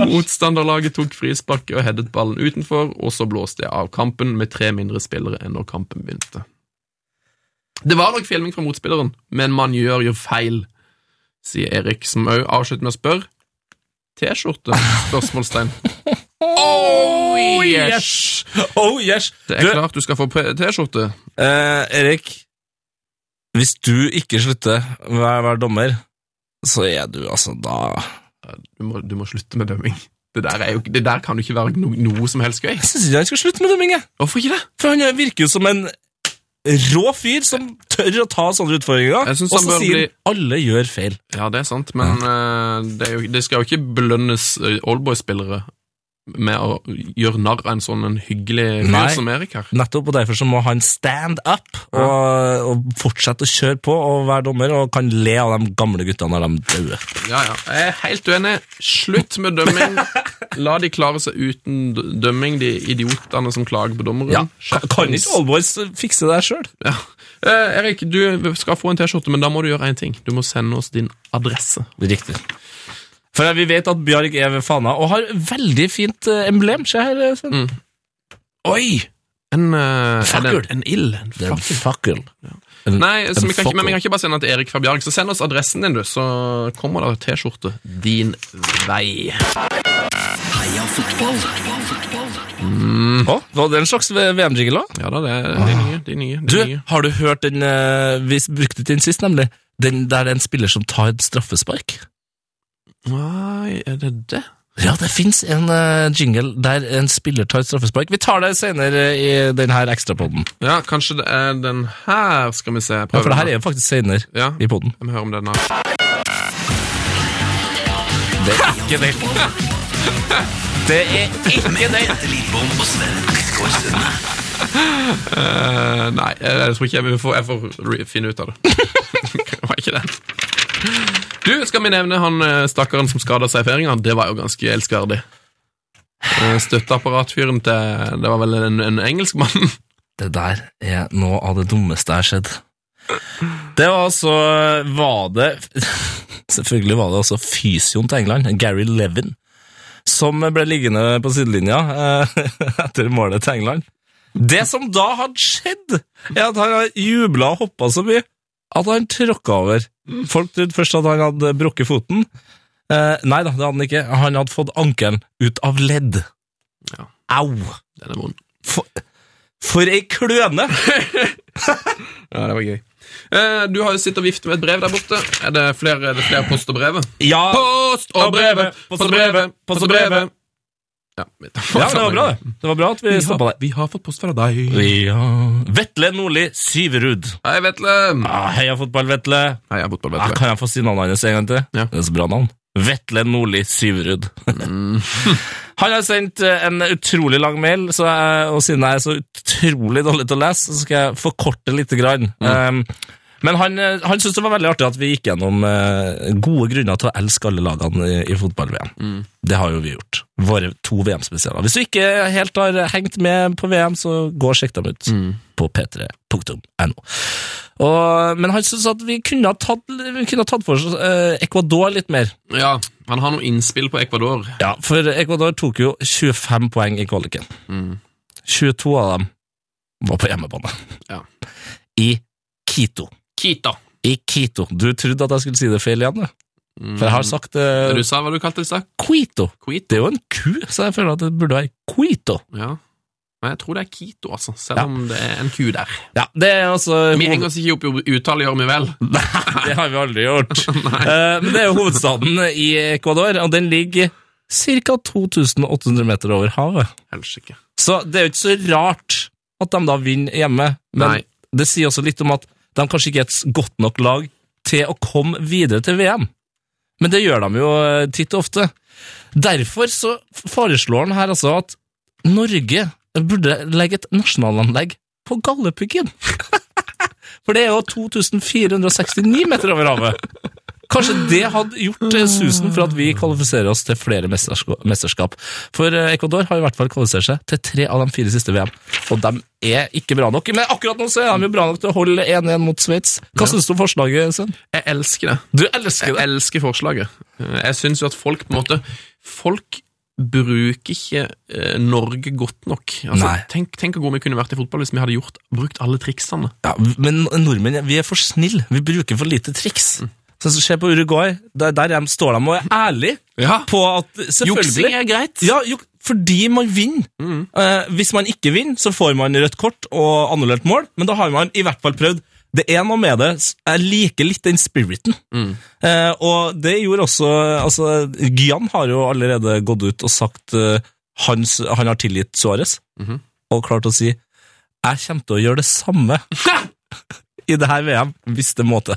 Speaker 1: Motstanderlaget tok frisparket og headet ballen utenfor, og så blåste jeg av kampen med tre mindre spillere enn når kampen begynte. Det var nok filming fra motspilleren, men man gjør jo feil, sier Erik, som òg avslutter med å spørre. T-skjorte? Spørsmålstegn. Oh
Speaker 4: yes! Oh yes!
Speaker 1: Det
Speaker 4: Du-
Speaker 1: er klart du skal få pre- T-skjorte.
Speaker 4: Eh, Erik, hvis du ikke slutter å være, være dommer, så er du altså da
Speaker 1: Du, må- du må slutte med dømming. Det der, er jo, det der kan jo ikke være no, noe som helst gøy.
Speaker 4: Jeg syns ikke han skal slutte med dømming, jeg.
Speaker 1: Hvorfor ikke det?
Speaker 4: For han virker jo som en rå fyr som tør å ta sånne utfordringer.
Speaker 1: Jeg
Speaker 4: Og
Speaker 1: synes
Speaker 4: så
Speaker 1: han bør
Speaker 4: sier
Speaker 1: bli-
Speaker 4: han alle gjør feil.
Speaker 1: Ja, det er sant, men eh, det, er jo, det skal jo ikke belønnes eh, oldboy-spillere med å gjøre narr av en sånn en hyggelig
Speaker 4: Nei.
Speaker 1: fyr som Erik her.
Speaker 4: Nettopp, og derfor så må han stand up og, og fortsette å kjøre på og være dommer, og kan le av de gamle guttene når de dør.
Speaker 1: Ja, ja. Jeg er helt uenig. Slutt med dømming. La de klare seg uten d- dømming, de idiotene som klager på dommeren.
Speaker 4: Ja, kan, kan
Speaker 1: Skjerpings.
Speaker 4: ikke Allboys fikse det sjøl?
Speaker 1: Ja. Eh, Erik, du skal få en T-skjorte, men da må du gjøre én ting. Du må sende oss din adresse.
Speaker 4: Riktig. For vi vet at Bjarg er ved Fana og har veldig fint eh, emblem. Se her. eh, Sven.
Speaker 1: Oi! En, eh, er det
Speaker 4: Fakkel.
Speaker 1: en, en ild. En
Speaker 4: Det er en
Speaker 1: fakkel.
Speaker 4: fakkel.
Speaker 1: Nei, så
Speaker 4: en
Speaker 1: vi kan ikke, men vi
Speaker 4: fakkel.
Speaker 1: kan ikke bare sende den til Erik fra Bjarg. Så send oss adressen din, du, så kommer det T-skjorte din vei.
Speaker 2: Heia fotball.
Speaker 4: Å, var det en slags VM-jingle òg?
Speaker 1: Ja da, det er de nye. De nye,
Speaker 4: Du,
Speaker 1: de nye.
Speaker 4: har du hørt den eh, vi brukte til den sist, nemlig? Den der det er en spiller som tar et straffespark?
Speaker 1: Nei, er det det?
Speaker 4: Ja, det fins en eh, jingle der en spiller tar et straffespark. Vi tar det senere eh, i denne ekstrapoden.
Speaker 1: Ja, kanskje det er den her, skal vi se.
Speaker 4: Ja, for det her er jo faktisk senere
Speaker 1: Ja,
Speaker 4: i poden.
Speaker 1: vi hører om den her.
Speaker 4: Det er ikke den. Det er ikke den.
Speaker 2: Tete Lidbom og Sven Biskår Sunde.
Speaker 1: Eh, nei, eh, jeg tror ikke jeg, men vi får, jeg får re- finne ut av det. det var ikke den. Du, skal vi nevne han eh, stakkaren som skada seg i feiringa? Det var jo ganske elskverdig. Eh, Støtteapparatfyren til Det var vel en, en engelskmann?
Speaker 4: Det der er noe av det dummeste jeg har sett. Det var altså Var det Selvfølgelig var det altså fysioen til England, Gary Levin, som ble liggende på sidelinja eh, etter målet til England. Det som da hadde skjedd, er at han hadde jubla og hoppa så mye at han tråkka over. Folk trodde først at han hadde brukket foten. Eh, nei da, det hadde han ikke. Han hadde fått ankelen ut av ledd.
Speaker 1: Ja.
Speaker 4: Au!
Speaker 1: Den er vond.
Speaker 4: For, for ei kløne!
Speaker 1: Ja, det var gøy. Eh, du har jo sittet og viftet med et brev der borte. Er det flere, er det flere post og brevet?
Speaker 4: Ja,
Speaker 1: Post og brevet! Post og brevet! Post og brevet! Ja, vi tar-
Speaker 4: ja, det var bra. det. Det var bra at vi
Speaker 1: Vi
Speaker 4: stoppa
Speaker 1: har,
Speaker 4: deg.
Speaker 1: vi har fått post fra deg.
Speaker 4: Ja. Vetle Nordli Syverud.
Speaker 1: Hei, Vetle.
Speaker 4: Ah, heia fotball, Vetle.
Speaker 1: Hei, jeg er fotball,
Speaker 4: Ah,
Speaker 1: Vetle.
Speaker 4: kan jeg få si navnet hans en gang til?
Speaker 1: Ja.
Speaker 4: Det er så bra navn. Vetle Nordli Syverud. Han har sendt eh, en utrolig lang mail, så jeg, og siden jeg er så utrolig dårlig til å lese, så skal jeg forkorte litt. Grann. Um, men han, eh, han syntes det var veldig artig at vi gikk gjennom eh, gode grunner til å elske alle lagene i, i fotball-VM. Det har jo vi gjort. Våre to VM-spesialer. Hvis du ikke helt har hengt med på VM, så gå og sjekk dem ut på p3.no. Og, men han syntes at vi kunne ha tatt, vi kunne ha tatt for oss eh, Ecuador litt mer.
Speaker 1: Ja, han har noe innspill på Ecuador.
Speaker 4: Ja, for Ecuador tok jo 25 poeng i kvaliken. 22 av dem var på hjemmebane.
Speaker 1: Ja.
Speaker 4: I Quito.
Speaker 1: Kita.
Speaker 4: I Quito. Du trodde at jeg skulle si det feil igjen, du. For jeg har sagt eh,
Speaker 1: Mm. Du sa hva du kalte det i stad?
Speaker 4: Quito.
Speaker 1: Quito?
Speaker 4: Det er jo en ku, så jeg føler at det burde være Quito.
Speaker 1: Ja. Men jeg tror det er Quito, altså. Selv
Speaker 4: Ja.
Speaker 1: om det er en ku der.
Speaker 4: Ja, det er altså
Speaker 1: Vi henger oss ikke opp i uttale, gjør vi vel?
Speaker 4: Nei, det har vi aldri gjort. Eh, Men det er jo hovedstaden i Ecuador, og den ligger ca. 2800 meter over havet.
Speaker 1: Helst ikke.
Speaker 4: Så det er jo ikke så rart at de da vinner hjemme, men
Speaker 1: Nei.
Speaker 4: det sier også litt om at de kanskje ikke er et godt nok lag til å komme videre til VM. Men det gjør de jo eh, titt og ofte. Derfor så foreslår han her altså at Norge burde legge et nasjonalanlegg på Galdhøpiggen. For det er jo 2469 meter over havet. Kanskje det hadde gjort eh, susen for at vi kvalifiserer oss til flere mestersko- mesterskap. For eh, Ecuador har i hvert fall kvalifisert seg til tre av de fire siste VM, og de er ikke bra nok. Men akkurat nå så er de jo bra nok til å holde 1-1 mot Sveits. Hva synes du om forslaget, Sven?
Speaker 1: Jeg elsker det.
Speaker 4: Du elsker
Speaker 1: Jeg
Speaker 4: det.
Speaker 1: elsker forslaget. Jeg syns jo at folk på en måte Folk bruker ikke eh, Norge godt nok. Altså,
Speaker 4: Nei.
Speaker 1: tenk, tenk hvor gode vi kunne vært i fotball hvis vi hadde gjort, brukt alle triksene.
Speaker 4: Ja, men nordmenn, vi er for snille. Vi bruker for lite triks. Mm. Så Se på Uruguay. Der, der er- står de og er ærlige
Speaker 1: Ja.
Speaker 4: på at
Speaker 1: Juksing
Speaker 4: selvfølgelig
Speaker 1: er greit.
Speaker 4: Ja, jo, fordi man vinner. Eh, hvis man ikke vinner, så får man rødt kort og annullert mål, men da har man i hvert fall prøvd. Det er noe med det. s- Jeg liker litt den spiriten. Eh, og det gjorde også altså, Gyan har jo allerede gått ut og sagt eh, hans, han har tilgitt Suárez, og klart å si 'jeg kommer til å gjøre det samme' i det her VM, hvis det må til.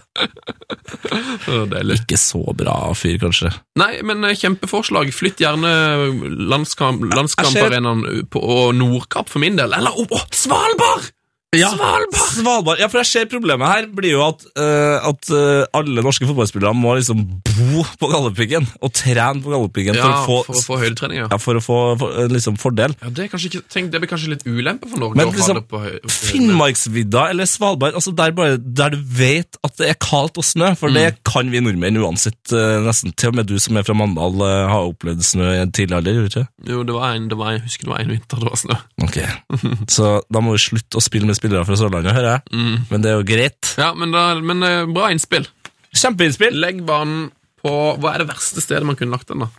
Speaker 1: Å, Deilig.
Speaker 4: Ikke så bra fyr, kanskje.
Speaker 1: Nei, men eh, kjempeforslag. Flytt gjerne landskamp,
Speaker 4: Jeg ser-
Speaker 1: landskamparenaen på og Nordkapp for min del. Eller opp, å, Svalbard! Ja.
Speaker 4: Svalbard. Ja, for jeg ser problemet her blir jo at, eh, at eh, alle norske fotballspillere må liksom bo på Galdhøpiggen og trene på Galdhøpiggen
Speaker 1: Ja,
Speaker 4: for å få,
Speaker 1: for å få høydetrening, ja.
Speaker 4: ja, for å få for, eh, liksom fordel.
Speaker 1: Ja, det, er kanskje ikke, tenk, det blir kanskje litt ulempe for Norge å
Speaker 4: Men
Speaker 1: ha
Speaker 4: liksom,
Speaker 1: det på høy...
Speaker 4: Finnmarksvidda eller Svalbard, altså der, bare, der du vet at det er kaldt og snø, for det
Speaker 1: Mm.
Speaker 4: kan vi nordmenn uansett, eh, nesten til og med du som er fra Mandal eh, har opplevd snø i en tidlig alder, gjorde du ikke?
Speaker 1: Jo, det var en, det var, jeg husker det var en vinter det var snø.
Speaker 4: Ok, så da må vi slutte å spille med spillere fra Sørlandet, hører jeg.
Speaker 1: Mm.
Speaker 4: Men det er jo greit.
Speaker 1: Ja, men, da, men eh, bra innspill.
Speaker 4: Kjempeinnspill!
Speaker 1: Legg banen på Hva er det verste stedet man kunne lagt den, da?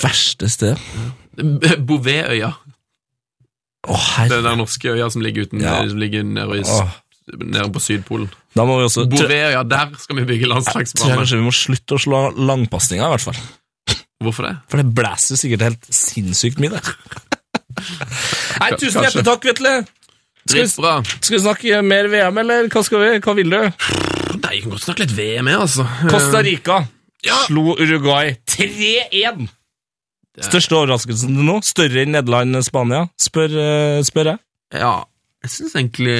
Speaker 4: Verste sted.
Speaker 1: B- Bouvetøya.
Speaker 4: Å,
Speaker 1: Det
Speaker 4: herre...
Speaker 1: er den norske øya som ligger, uten,
Speaker 4: Ja.
Speaker 1: som ligger nede, i, s-
Speaker 4: Åh.
Speaker 1: nede på Sydpolen.
Speaker 4: Da må vi også... Tror
Speaker 1: Bouvetøya, der skal vi bygge
Speaker 4: tror jeg
Speaker 1: landslagsbane.
Speaker 4: kanskje vi må slutte å slå langpasninger, i hvert fall.
Speaker 1: Hvorfor det?
Speaker 4: For det blæser jo sikkert helt sinnssykt mye der. Nei, tusen
Speaker 1: Kanskje.
Speaker 4: hjertelig takk, Vetle! Skal vi,
Speaker 1: Dritbra.
Speaker 4: skal vi snakke mer VM, eller hva skal vi? Hva vil du?
Speaker 1: Nei, jeg kan godt snakke litt VM med, altså.
Speaker 4: Costa Rica
Speaker 1: Ja.
Speaker 4: slo Uruguay 3-1! Største overraskelsen til nå? Større enn Nederland og Spania? Spør, eh, spør jeg.
Speaker 1: Ja, jeg syns egentlig,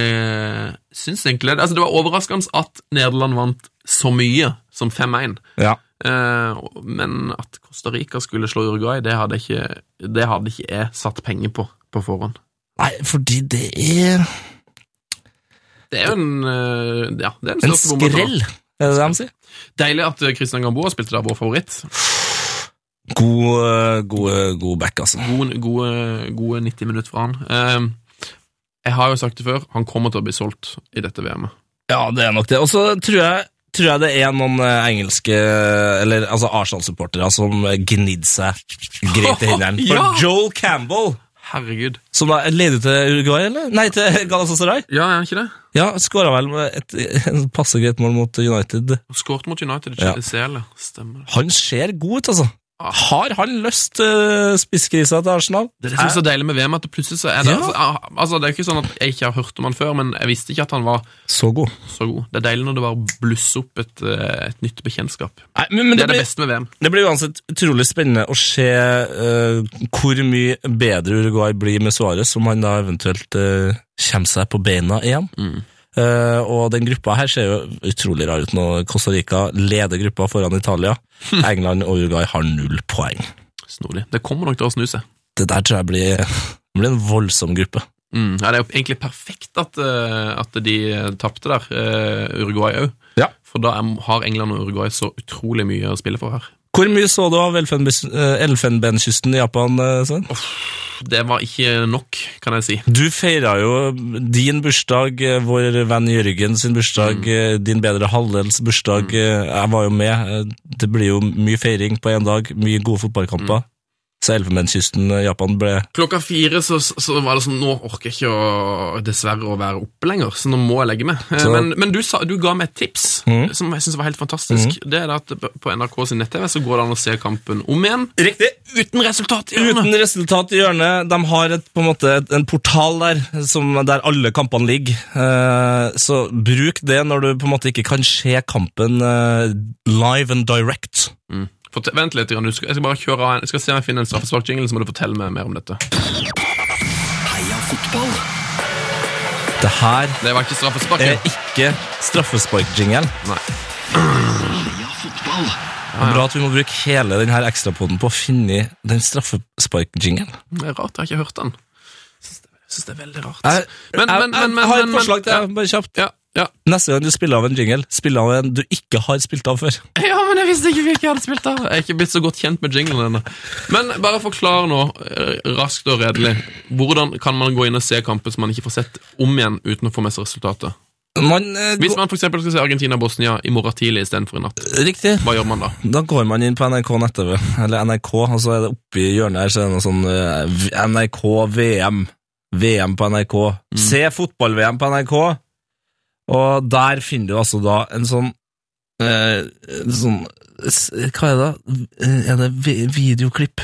Speaker 1: syns egentlig det. Altså, det var overraskende at Nederland vant så mye som 5-1.
Speaker 4: Ja.
Speaker 1: Eh, og- men at Costa Rica skulle slå Uruguay, det hadde ikke, det hadde ikke jeg satt penger på på forhånd.
Speaker 4: Nei, fordi det er
Speaker 1: Det er jo en, eh, ja, det er den
Speaker 4: en
Speaker 1: største bomben nå.
Speaker 4: skrell, er det det de sier?
Speaker 1: Deilig at eh, Christian Gamboa spilte der, vår favoritt.
Speaker 4: God, eh, god, eh, god back, altså.
Speaker 1: Gode, gode, gode 90 minutter fra han. Eh, jeg har jo sagt det før, han kommer til å bli solgt i dette VM-et.
Speaker 4: Ja, det er nok det. Og så tror jeg tror jeg det er noen eh, engelske, eller altså Arsenal-supportere, som eh, gnidde seg greit i hendene. For
Speaker 1: Ja!
Speaker 4: Joel Campbell,
Speaker 1: Herregud.
Speaker 4: som da leide til Uruguay, eller? Nei, til Galatasaray.
Speaker 1: Ja, er han ikke det?
Speaker 4: Ja, skåra vel med et, et passe greit mål mot United.
Speaker 1: Han skåret mot United i
Speaker 4: Ja.
Speaker 1: CL. Stemmer det.
Speaker 4: Han ser god ut, altså.
Speaker 1: Ja.
Speaker 4: Har han løst uh, spisskrisa til Arsenal?
Speaker 1: Det er det som er så deilig med VM, at det plutselig så er det
Speaker 4: Ja.
Speaker 1: altså, altså, Det er ikke sånn at jeg ikke har hørt om han før, men jeg visste ikke at han var
Speaker 4: Så god.
Speaker 1: så god. Det er deilig når det bare blusser opp et, eh, et nytt bekjentskap.
Speaker 4: Nei, men,
Speaker 1: Det
Speaker 4: men det,
Speaker 1: er det
Speaker 4: blir,
Speaker 1: beste med VM.
Speaker 4: det blir uansett utrolig spennende å se eh, hvor mye bedre Uruguay blir med Suárez, om han da eventuelt eh, kommer seg på beina igjen. Eh, og den gruppa her ser jo utrolig rar ut nå. Costa Rica leder gruppa foran Italia. England og Uruguay har null poeng.
Speaker 1: Snodig. Det kommer nok til å snu seg.
Speaker 4: Det der tror jeg blir, det blir en voldsom gruppe.
Speaker 1: Mm. Ja, det er jo egentlig perfekt at, eh, at de tapte der, eh, Uruguay òg.
Speaker 4: Ja.
Speaker 1: For da er, har England og Uruguay så utrolig mye å spille for her.
Speaker 4: Hvor mye så du av Elfenbes- eh, Elfenbenskysten i Japan, eh, Svein?
Speaker 1: Det var ikke nok, kan jeg si.
Speaker 4: Du feira jo din bursdag, eh, vår venn Jørgen sin bursdag, eh, din bedre halvdels bursdag. eh, Jeg var jo med. eh, Det blir jo mye feiring på én dag, mye gode fotballkamper. Så Elfenbenskysten, eh, Japan, ble
Speaker 1: Klokka fire så, så var det sånn Nå orker jeg ikke å, dessverre å være oppe lenger, så nå må jeg legge meg. Eh,
Speaker 4: Så-
Speaker 1: Men, men du, sa, du ga meg et tips
Speaker 4: Mhm.
Speaker 1: som jeg syns var helt fantastisk. Det er det at på- på NRK sin nett-TV så går det an å se kampen om igjen.
Speaker 4: Riktig!
Speaker 1: Uten resultat! i
Speaker 4: Uten
Speaker 1: hjørnet.
Speaker 4: resultat i hjørnet. De har et, på en måte et, en portal der som, der alle kampene ligger. Eh, Så bruk det når du på en måte ikke kan se kampen eh, live and direct.
Speaker 1: Mm. Fort- Vent litt, grann, du skal, jeg skal bare kjøre av en, jeg skal se om jeg finner en straffespark jingle, så må du fortelle meg mer om dette.
Speaker 2: Heia fotball.
Speaker 4: Det her
Speaker 1: Det var ikke straffespark.
Speaker 4: er
Speaker 1: ja.
Speaker 4: ikke straffesparkjingelen.
Speaker 1: Nei.
Speaker 2: Heia fotball.
Speaker 4: Det er bra at vi må bruke hele denne ekstrapoden på å finne den straffesparkjingelen.
Speaker 1: Det er rart jeg har ikke hørt den. Syns det, syns det er veldig rart.
Speaker 4: Jeg-
Speaker 1: Men- men- men- men-
Speaker 4: jeg har
Speaker 1: men-
Speaker 4: et
Speaker 1: men-
Speaker 4: forslag til deg, bare kjapt.
Speaker 1: Ja, ja.
Speaker 4: Neste gang du spiller av en jingle, spill av en du ikke har spilt av før.
Speaker 1: ja, men jeg visste ikke hvilken jeg hadde spilt av. Jeg er ikke blitt så godt kjent med jinglen ennå. Men bare forklar nå, eh, raskt og redelig, hvordan kan man gå inn og se kampen som man ikke får sett om igjen uten å få med seg resultatet?
Speaker 4: Man, eh,
Speaker 1: Hvis
Speaker 4: gå,
Speaker 1: man for eksempel skal se Argentina-Bosnia i morgen tidlig istedenfor i natt,
Speaker 4: riktig.
Speaker 1: hva gjør man da?
Speaker 4: Da går man inn på NRK nett-TV, eller NRK, og så er det oppe i hjørnet her, så er det noe sånn eh, V- NRK VM. VM på NRK. Se fotball-VM på NRK. Og der finner du altså da en sånn eh, en sånn s- Hva er det? da? Eh, Er det vi- videoklipp?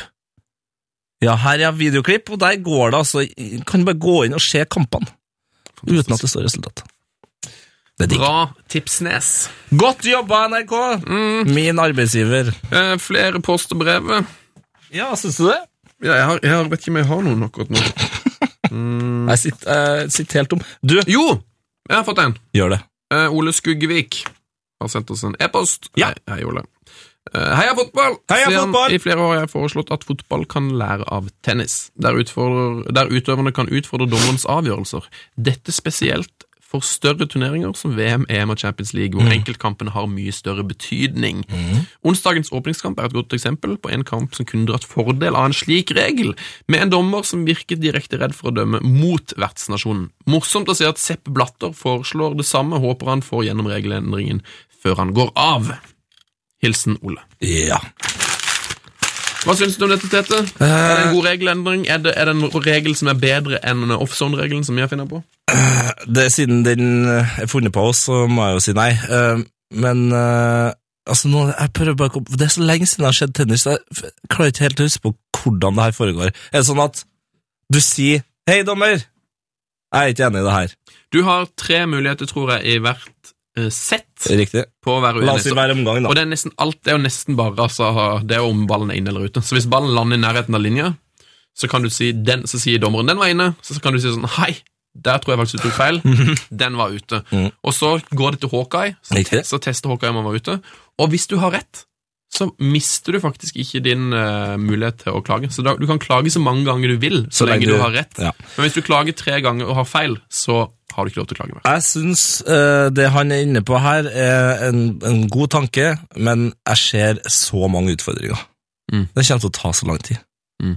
Speaker 4: Ja, her er videoklipp, og der går det altså Kan du bare gå inn og se kampene uten at det står resultat. Det er digg.
Speaker 1: Bra tipsnes.
Speaker 4: Godt jobba, NRK! Min arbeidsgiver.
Speaker 1: Eh, flere post og brev.
Speaker 4: Ja, syns du det?
Speaker 1: Ja, jeg, har, jeg har- vet ikke om jeg har noen akkurat nå.
Speaker 4: Jeg sitter, jeg sitter eh, helt tom. Du,
Speaker 1: Jo! Jeg har fått en.
Speaker 4: gjør det.
Speaker 1: Eh, Ole Skuggevik har sendt oss en e-post.
Speaker 4: Ja.
Speaker 1: Hei, hei, Ole. Eh, Heia fotball!
Speaker 4: Heia
Speaker 1: Siden
Speaker 4: fotball!
Speaker 1: I flere år har jeg foreslått at fotball kan lære av tennis, der, utfordrer, der utøverne kan utfordre dommerens avgjørelser. Dette spesielt for større turneringer som VM, EM og Champions League, hvor
Speaker 4: Mm.
Speaker 1: enkeltkampene har mye større betydning. Onsdagens åpningskamp er et godt eksempel på en kamp som kunne dratt fordel av en slik regel, med en dommer som virket direkte redd for å dømme mot vertsnasjonen. Morsomt å se at Sepp Blatter foreslår det samme, håper han får gjennom regelendringen før han går av. Hilsen Ole.
Speaker 4: Ja.
Speaker 1: Hva syns du om dette, Tete? Er det en god regelendring? Er det, er det en regel som er bedre enn offzone-regelen som vi har funnet på?
Speaker 4: Det, siden den eh, er funnet på oss, så må jeg jo si nei. Eh, Men eh, altså, nå, jeg prøver bare å komme- Det er så lenge siden jeg har sett tennis, så jeg f- klarer ikke helt å huske på hvordan det her foregår. Er det sånn at du sier 'Hei, dommer', jeg er ikke enig i det her.
Speaker 1: Du har tre muligheter, tror jeg, i hvert eh, sett
Speaker 4: Riktig.
Speaker 1: på å være
Speaker 4: La oss si
Speaker 1: uenig.
Speaker 4: hver omgang, da.
Speaker 1: Og det er nesten alt det er jo nesten bare altså, det er jo om ballen er inne eller ute. Så hvis ballen lander i nærheten av linja, så kan du si den, så sier dommeren den var inne, så kan du si sånn hei, der tror jeg faktisk du tok feil, den var ute.
Speaker 4: Mhm.
Speaker 1: Og så går det til Hawkeye, så,
Speaker 4: Riktig.
Speaker 1: så tester Hawkeye om han var ute. Og hvis du har rett, så mister du faktisk ikke din eh, mulighet til å klage. Så da, du kan klage så mange ganger du vil, så, lenge du, har rett.
Speaker 4: Ja.
Speaker 1: Men hvis du klager tre ganger og har feil, så har du ikke lov til å klage mer.
Speaker 4: Jeg syns eh, det han er inne på her, er en, en god tanke, men jeg ser så mange utfordringer.
Speaker 1: Mm.
Speaker 4: Det kommer til å ta så lang tid.
Speaker 1: Mm.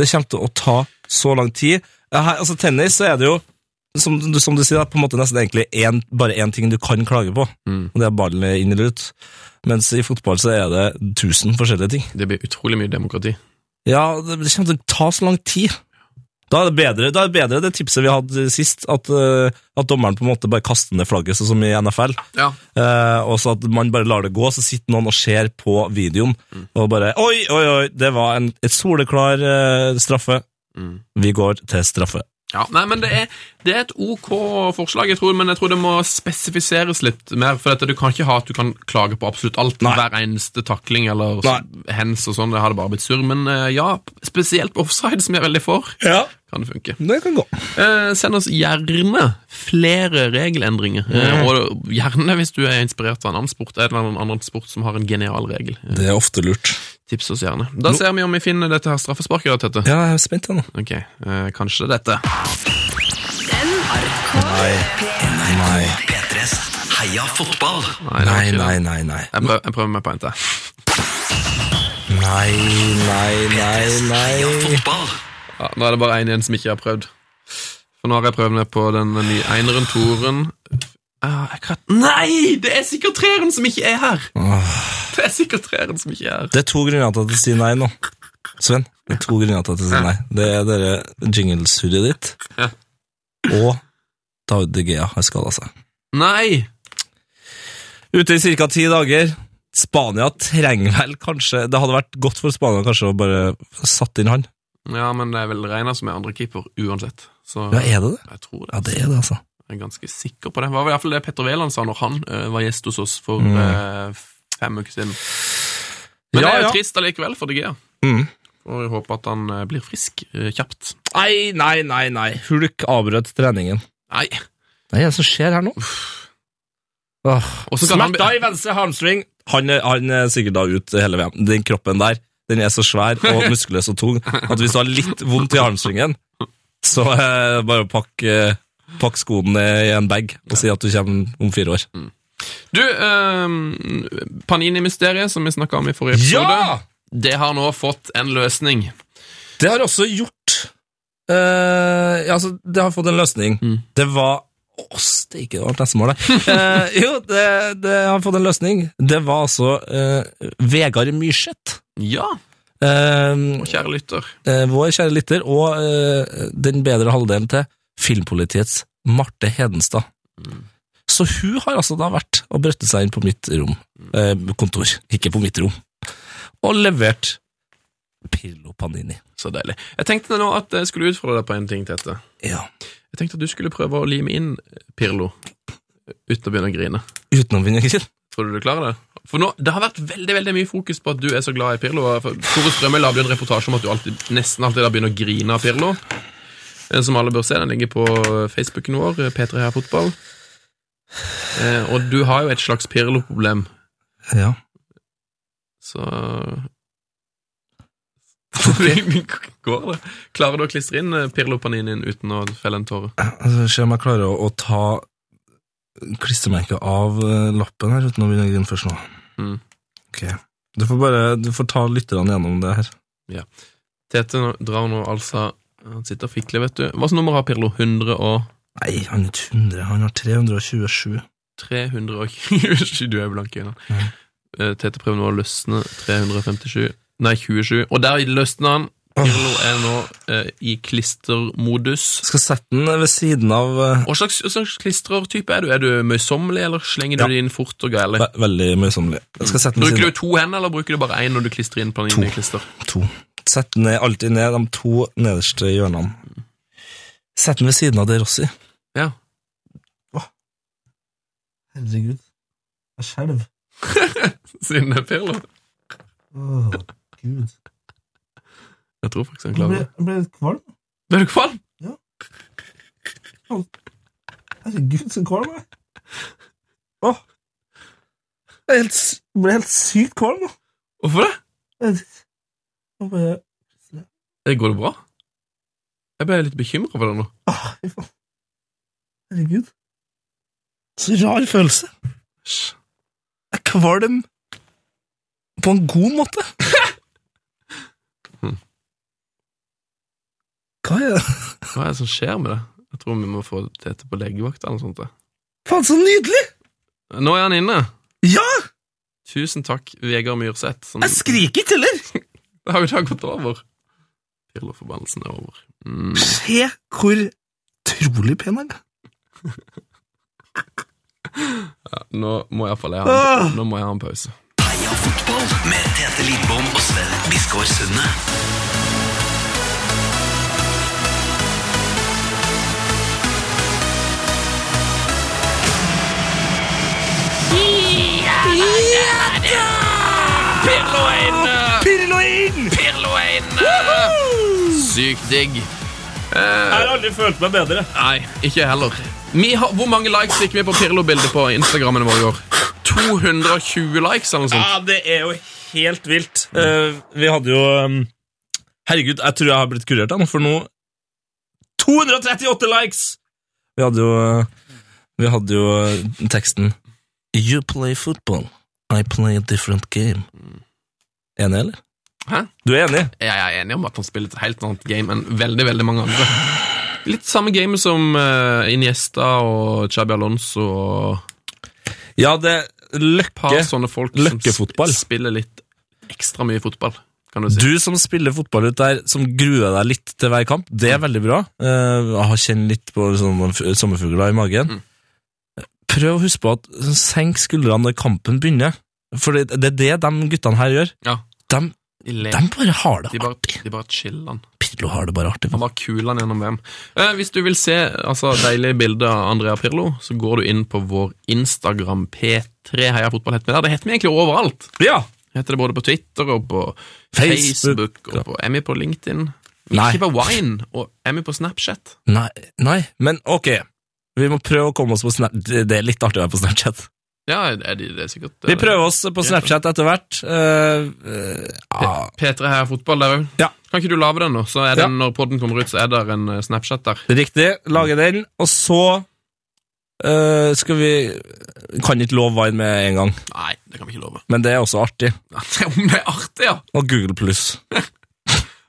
Speaker 4: Det kommer til å ta så lang tid. Eh, Her, altså Tennis så er det jo, som, du- som du sier, da, på en måte nesten egentlig en, bare én ting du kan klage på,
Speaker 1: Mm.
Speaker 4: og det er ballen inn eller ut. Mens i fotball så er det tusen forskjellige ting.
Speaker 1: Det blir utrolig mye demokrati.
Speaker 4: Ja, det det kommer til å ta så lang tid. Da er det bedre, da er det, bedre det tipset vi hadde sist, at, eh, at dommeren på en måte bare kaster ned flagget, sånn som i NFL.
Speaker 1: Ja,
Speaker 4: Eh, og så at man bare lar det gå, så sitter noen og ser på videoen og bare Oi, oi, oi, det var en, et soleklar eh, straffe.
Speaker 1: Mm.
Speaker 4: Vi går til straffe.
Speaker 1: Ja, nei, men det er, det er et ok forslag, jeg tror, men jeg tror det må spesifiseres litt mer. For dette, du kan ikke ha at du kan klage på absolutt alt.
Speaker 4: Nei.
Speaker 1: Hver eneste takling eller så- hands og sånn. Det hadde bare blitt surr. Men eh, ja, spesielt på offside, som jeg er veldig for,
Speaker 4: Ja,
Speaker 1: kan det funke.
Speaker 4: det kan gå.
Speaker 1: Eh, send oss gjerne flere regelendringer. Eh,
Speaker 4: Mm.
Speaker 1: og gjerne hvis du er inspirert av en annen sport. Er det en annen sport som har en genial regel? Eh,
Speaker 4: Det er ofte lurt.
Speaker 1: tips oss gjerne. Da ser vi om vi finner dette her straffesparket. da, Tete.
Speaker 4: Ja, jeg er spent ennå.
Speaker 1: Ok, eh, kanskje dette.
Speaker 4: Nei,
Speaker 2: P3s Heia fotball.
Speaker 1: Nei, det var
Speaker 4: nei,
Speaker 1: ikke det.
Speaker 4: nei, nei. Nei,
Speaker 1: Jeg prøver, jeg prøver meg på en til.
Speaker 4: nei, nei, nei.
Speaker 2: P3s Heia
Speaker 4: nei.
Speaker 2: fotball.
Speaker 1: Ja, nå er det bare en igjen som ikke jeg har prøvd. For nå har jeg prøvd meg på den nye eineren, toeren ah, jeg kan... Nei! Det er sikkert treeren som ikke er her! Det er sikkert treeren som ikke er her.
Speaker 4: Det er to grunner til at jeg sier nei nå. Sven, det er to grunner til at jeg sier nei. Det er dere jinglesurret ditt,
Speaker 1: Ja.
Speaker 4: og David De Gea har skada seg.
Speaker 1: Nei!
Speaker 4: Ute i ca. ti dager. Spania trenger vel kanskje Det hadde vært godt for Spania kanskje å bare satt inn han.
Speaker 1: Ja, men det er vel Reina som er andre keeper, uansett. Så
Speaker 4: Ja, er det det?
Speaker 1: jeg tror det.
Speaker 4: Ja, det er det, altså.
Speaker 1: Jeg er ganske sikker på det. Det var i hvert fall det Petter Wæland sa når han eh, var gjest hos oss for eh, fem uker siden. Men
Speaker 4: Mm. Ja,
Speaker 1: det er jo
Speaker 4: ja.
Speaker 1: trist allikevel for DG.
Speaker 4: Mm.
Speaker 1: Og jeg håper at han eh, blir frisk eh, kjapt.
Speaker 4: Nei, nei, nei, nei. Hulk avbrøt treningen.
Speaker 1: Nei.
Speaker 4: Nei, hva er det som skjer her nå? Åh.
Speaker 1: Og så kan han bli-
Speaker 4: Smerter i venstre hamstring. Han, er- han er sikkert da ut hele VM. Den kroppen der den er så svær og muskuløs og tung at hvis du har litt vondt i hamstringen, så eh, bare pakk, eh, pakk skoene i en bag og si at du kommer om fire år.
Speaker 1: Du, ehm, Panini-mysteriet som vi snakka om i forrige episode,
Speaker 4: Ja!
Speaker 1: det har nå fått en løsning.
Speaker 4: Det har også gjort eh, ja, altså, Det har fått en løsning. Det var Å, steike, det var pressemålet. uh, jo, det, det har fått en løsning. Det var altså eh, Vegard Myrseth.
Speaker 1: Ja,
Speaker 4: eh,
Speaker 1: kjære lytter.
Speaker 4: eh, vår kjære lytter, og eh, den bedre halvdelen til filmpolitiets Marte Hedenstad. Så hun har altså da vært og brøttet seg inn på mitt rom, eh, kontor, ikke på mitt rom, og levert Pirlo Panini.
Speaker 1: Så deilig. Jeg tenkte nå at jeg skulle utfordre deg på en ting, Tete.
Speaker 4: Ja.
Speaker 1: Jeg tenkte at du skulle prøve å lime inn Pirlo uten å begynne å grine.
Speaker 4: Utenom vinjegril.
Speaker 1: Tror du du klarer det? For nå, Det har vært veldig veldig mye fokus på at du er så glad i Pirlo. og for- Tore Strømøy lagde jo en reportasje om at du alltid, nesten alltid da begynner å grine av Pirlo. eh, som alle bør se. Den ligger på Facebooken vår, eh, P3 Her Fotball. Eh, og du har jo et slags Pirlo-problem,
Speaker 4: Ja.
Speaker 1: så Hvordan Går det? Klarer du å klistre inn eh, Pirlo-paninien uten å felle en tåre?
Speaker 4: Altså, Se om jeg klarer å, å ta klistremerket av eh, lappen her uten å begynne å grine først nå.
Speaker 1: Mm.
Speaker 4: Ok. Du får bare du får ta lytterne gjennom det her.
Speaker 1: Tete nå- drar nå altså Han sitter og fikler, vet du. Hva slags nummer har Pirlo? 100 og
Speaker 4: Nei, han er ikke 100, han har 327.
Speaker 1: 327 Du er blank i øynene. Eh, Tete prøver nå å løsne 357 Nei, 27. Og der løsner han. Pirlo er nå eh, i klistermodus.
Speaker 4: Jeg skal sette den ved siden av eh,
Speaker 1: Hva slags, hva slags klistrertype er du? Er du møysommelig, eller slenger
Speaker 4: Ja.
Speaker 1: du det inn fort og gærlig?
Speaker 4: ve Veldig møysommelig. Jeg skal sette den ved
Speaker 1: Bruker
Speaker 4: siden
Speaker 1: du to hender, eller bruker du bare én når du klistrer inn planineklister?
Speaker 4: av to. Sett den ned, alltid ned de to nederste hjørnene. Sett den ved siden av det Rossi.
Speaker 1: Ja.
Speaker 4: Herregud. Jeg skjelver.
Speaker 1: Siden det er Pirlo.
Speaker 4: Åh, Gud.
Speaker 1: Jeg tror faktisk han klarer det.
Speaker 4: litt kvalm.
Speaker 1: Ble du kvalm?
Speaker 4: Herregud, så kvalm jeg er. Åh. Jeg er helt s- ble helt sykt kvalm. da.
Speaker 1: Hvorfor det?
Speaker 4: Jeg vet ikke. Jeg bare-
Speaker 1: Eh, Går det bra? Jeg ble litt bekymra for det nå.
Speaker 4: Åh, fy faen. Herregud. Så rar følelse. Jeg er kvalm på en god måte. Hva er det?
Speaker 1: Hva er det som skjer med det? Jeg tror vi må få Tete på legevakta eller noe sånt. det.
Speaker 4: Faen, så nydelig!
Speaker 1: Nå er han inne!
Speaker 4: Ja!
Speaker 1: Tusen takk, Vegard Myrseth. Som,
Speaker 4: Jeg skriker ikke heller.
Speaker 1: det har jo da gått over. Pirlo-forbannelsen er over. Mm.
Speaker 4: Se hvor utrolig pen han er.
Speaker 1: Nå må iallfall jeg, ha en- nå må jeg ha en pause.
Speaker 2: Heia fotball med Tete Lidbom og Sven Biskår Sunde.
Speaker 1: Pirlo er inne!
Speaker 4: Pirlo inn!
Speaker 1: Pirlo er inne! Sykt digg.
Speaker 4: Jeg har aldri følt meg bedre.
Speaker 1: Nei, ikke jeg heller. Vi har, hvor mange likes fikk vi på Pirlo-bildet på Instagrammen vår i år? 220 likes eller noe sånt.
Speaker 4: Ja, det er jo helt vilt. Eh, vi hadde jo um, Herregud, jeg tror jeg har blitt kurert, da, nå, for nå 238 likes! Vi hadde jo eh, Vi hadde jo eh, teksten You play football. I play a different game. Enig, eller?
Speaker 1: Hæ?
Speaker 4: Du er enig?
Speaker 1: Jeg er enig om at han spiller et helt annet game enn veldig veldig mange andre. Litt samme game som eh, Iniesta og Chabi Alonso og
Speaker 4: Ja, det
Speaker 1: et par
Speaker 4: Løkke.
Speaker 1: sånne folk
Speaker 4: Løkkefotball.
Speaker 1: som sp- spiller litt ekstra mye fotball, kan du si.
Speaker 4: Du som spiller fotball ut der, som gruer deg litt til hver kamp, det
Speaker 1: Mm.
Speaker 4: er veldig bra. Eh, Jeg kjenner litt på sånn f- sommerfugler i magen.
Speaker 1: Mm.
Speaker 4: Prøv å huske på at sånn, senk skuldrene når kampen begynner. For det, det er det de guttene her gjør.
Speaker 1: Ja,
Speaker 4: De,
Speaker 1: de, ler.
Speaker 4: de bare har det
Speaker 1: de bare,
Speaker 4: artig.
Speaker 1: de bare chiller han.
Speaker 4: Pirlo har det bare artig.
Speaker 1: Han var kul han gjennom VM. Eh, hvis du vil se altså, deilige bilder av Andrea Pirlo, så går du inn på vår Instagram P3 Heia Fotball. Heter vi der. Det heter vi egentlig overalt.
Speaker 4: Ja!
Speaker 1: Heter det både på Twitter og på
Speaker 4: Facebook,
Speaker 1: Facebook, og på, er vi på LinkedIn? Vi
Speaker 4: Nei.
Speaker 1: er ikke på Wine, og er vi på Snapchat?
Speaker 4: Nei, nei, men ok. Vi må prøve å komme oss på Snapchat. Det er litt artig å være på Snapchat.
Speaker 1: Ja, det er, det er sikkert eh,
Speaker 4: Vi prøver oss på Snapchat etter hvert. Eh, eh, ja.
Speaker 1: P3 her fotball der òg.
Speaker 4: Ja.
Speaker 1: Kan ikke du lage den, da? Så er
Speaker 4: Ja.
Speaker 1: den, Når podden kommer ut, så er det en eh, Snapchat der.
Speaker 4: Riktig. Lage den, og så eh, skal vi Kan ikke love Vine med en gang,
Speaker 1: Nei, det kan vi ikke love.
Speaker 4: men det er også artig.
Speaker 1: Om det er artig, ja!
Speaker 4: Og Google pluss.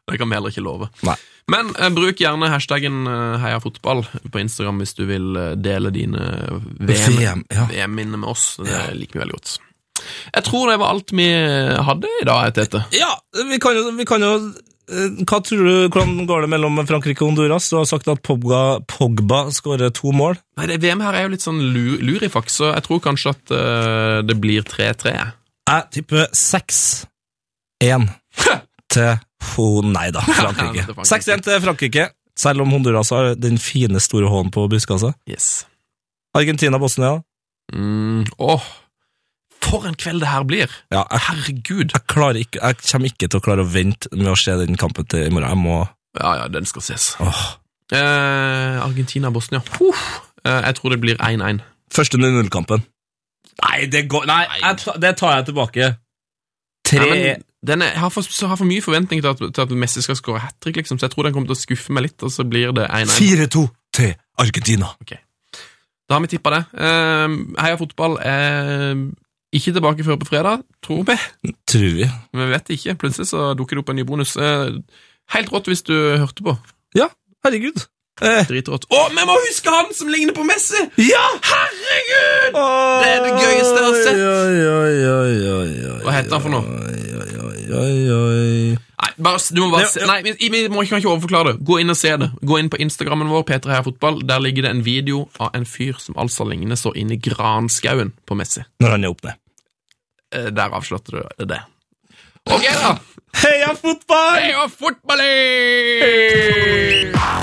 Speaker 1: Det kan vi heller ikke love.
Speaker 4: Nei.
Speaker 1: Men eh, bruk gjerne hashtaggen eh, heia fotball på Instagram hvis du vil eh, dele dine VM-minner
Speaker 4: VM, ja.
Speaker 1: med oss. Det liker vi veldig godt. Jeg tror det var alt vi eh, hadde i dag, Tete.
Speaker 4: Ja, vi kan jo, vi kan jo eh, hva tror du, Hvordan går det mellom Frankrike og Honduras? Du har sagt at Pogba, Pogba skårer to mål.
Speaker 1: Nei, det VM her er jo litt sånn lu- lurifaks, så jeg tror kanskje at eh, det blir 3-3. jeg.
Speaker 4: Jeg tipper 6-1 til Ho... Nei da,
Speaker 1: Ja,
Speaker 4: Frankrike.
Speaker 1: til Frankrike.
Speaker 4: 6-1 til Frankrike, selv om Honduras har den fine, store hånden på buskasa.
Speaker 1: Yes.
Speaker 4: Argentina-Bosnia.
Speaker 1: Mm, åh, for en kveld det her blir!
Speaker 4: Ja, jeg
Speaker 1: Herregud!
Speaker 4: jeg, klarer ikke, jeg kommer ikke til å klare å vente med å se den kampen til i morgen. Jeg må
Speaker 1: Ja, ja, den skal ses.
Speaker 4: åh,
Speaker 1: Eh, Argentina-Bosnia. Huh. Eh, jeg tror det blir 1-1.
Speaker 4: Første 0-0-kampen. Nei, det går Nei, jeg ta, det tar jeg tilbake.
Speaker 1: Nei,
Speaker 4: Tre
Speaker 1: men den er, jeg har for, så har for mye forventning til at, til at Messi skal skåre hat trick, liksom, så jeg tror den kommer til å skuffe meg litt, og så blir det 1-1.
Speaker 4: 4-2 til Argentina.
Speaker 1: Da har vi tippa det. Eh, heia fotball er ikke tilbake før på fredag, tror vi.
Speaker 4: Tror vi.
Speaker 1: Men vi vet ikke. Plutselig så dukker det opp en ny bonus. Eh, helt rått hvis du hørte på.
Speaker 4: Ja, herregud. Eh,
Speaker 1: Dritrått. Å, vi må huske han som ligner på Messi!
Speaker 4: Ja!
Speaker 1: Herregud!
Speaker 4: Det
Speaker 1: er det gøyeste jeg har sett.
Speaker 4: Oi, oi, oi, oi, oi,
Speaker 1: Hva heter han for noe?
Speaker 4: Oi, oi, oi, oi.
Speaker 1: Nei, bare, s- du må bare se. Nei, vi, vi må ikke, kan ikke overforklare det. Gå inn og se det. Gå inn på Instagrammen vår, P3 Heia Fotball. Der ligger det en video av en fyr som altså ligner så inn i granskauen på Messi.
Speaker 4: Når han er opp ned.
Speaker 1: Eh, Der avslørte du det. Ok, da.
Speaker 4: Heia fotball!
Speaker 1: Heia fotballen!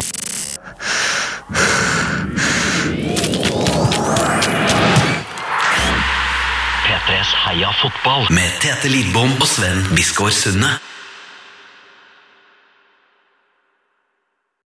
Speaker 2: P3s Heia fotball med Tete Lidbom og Sven Biskår Sunne.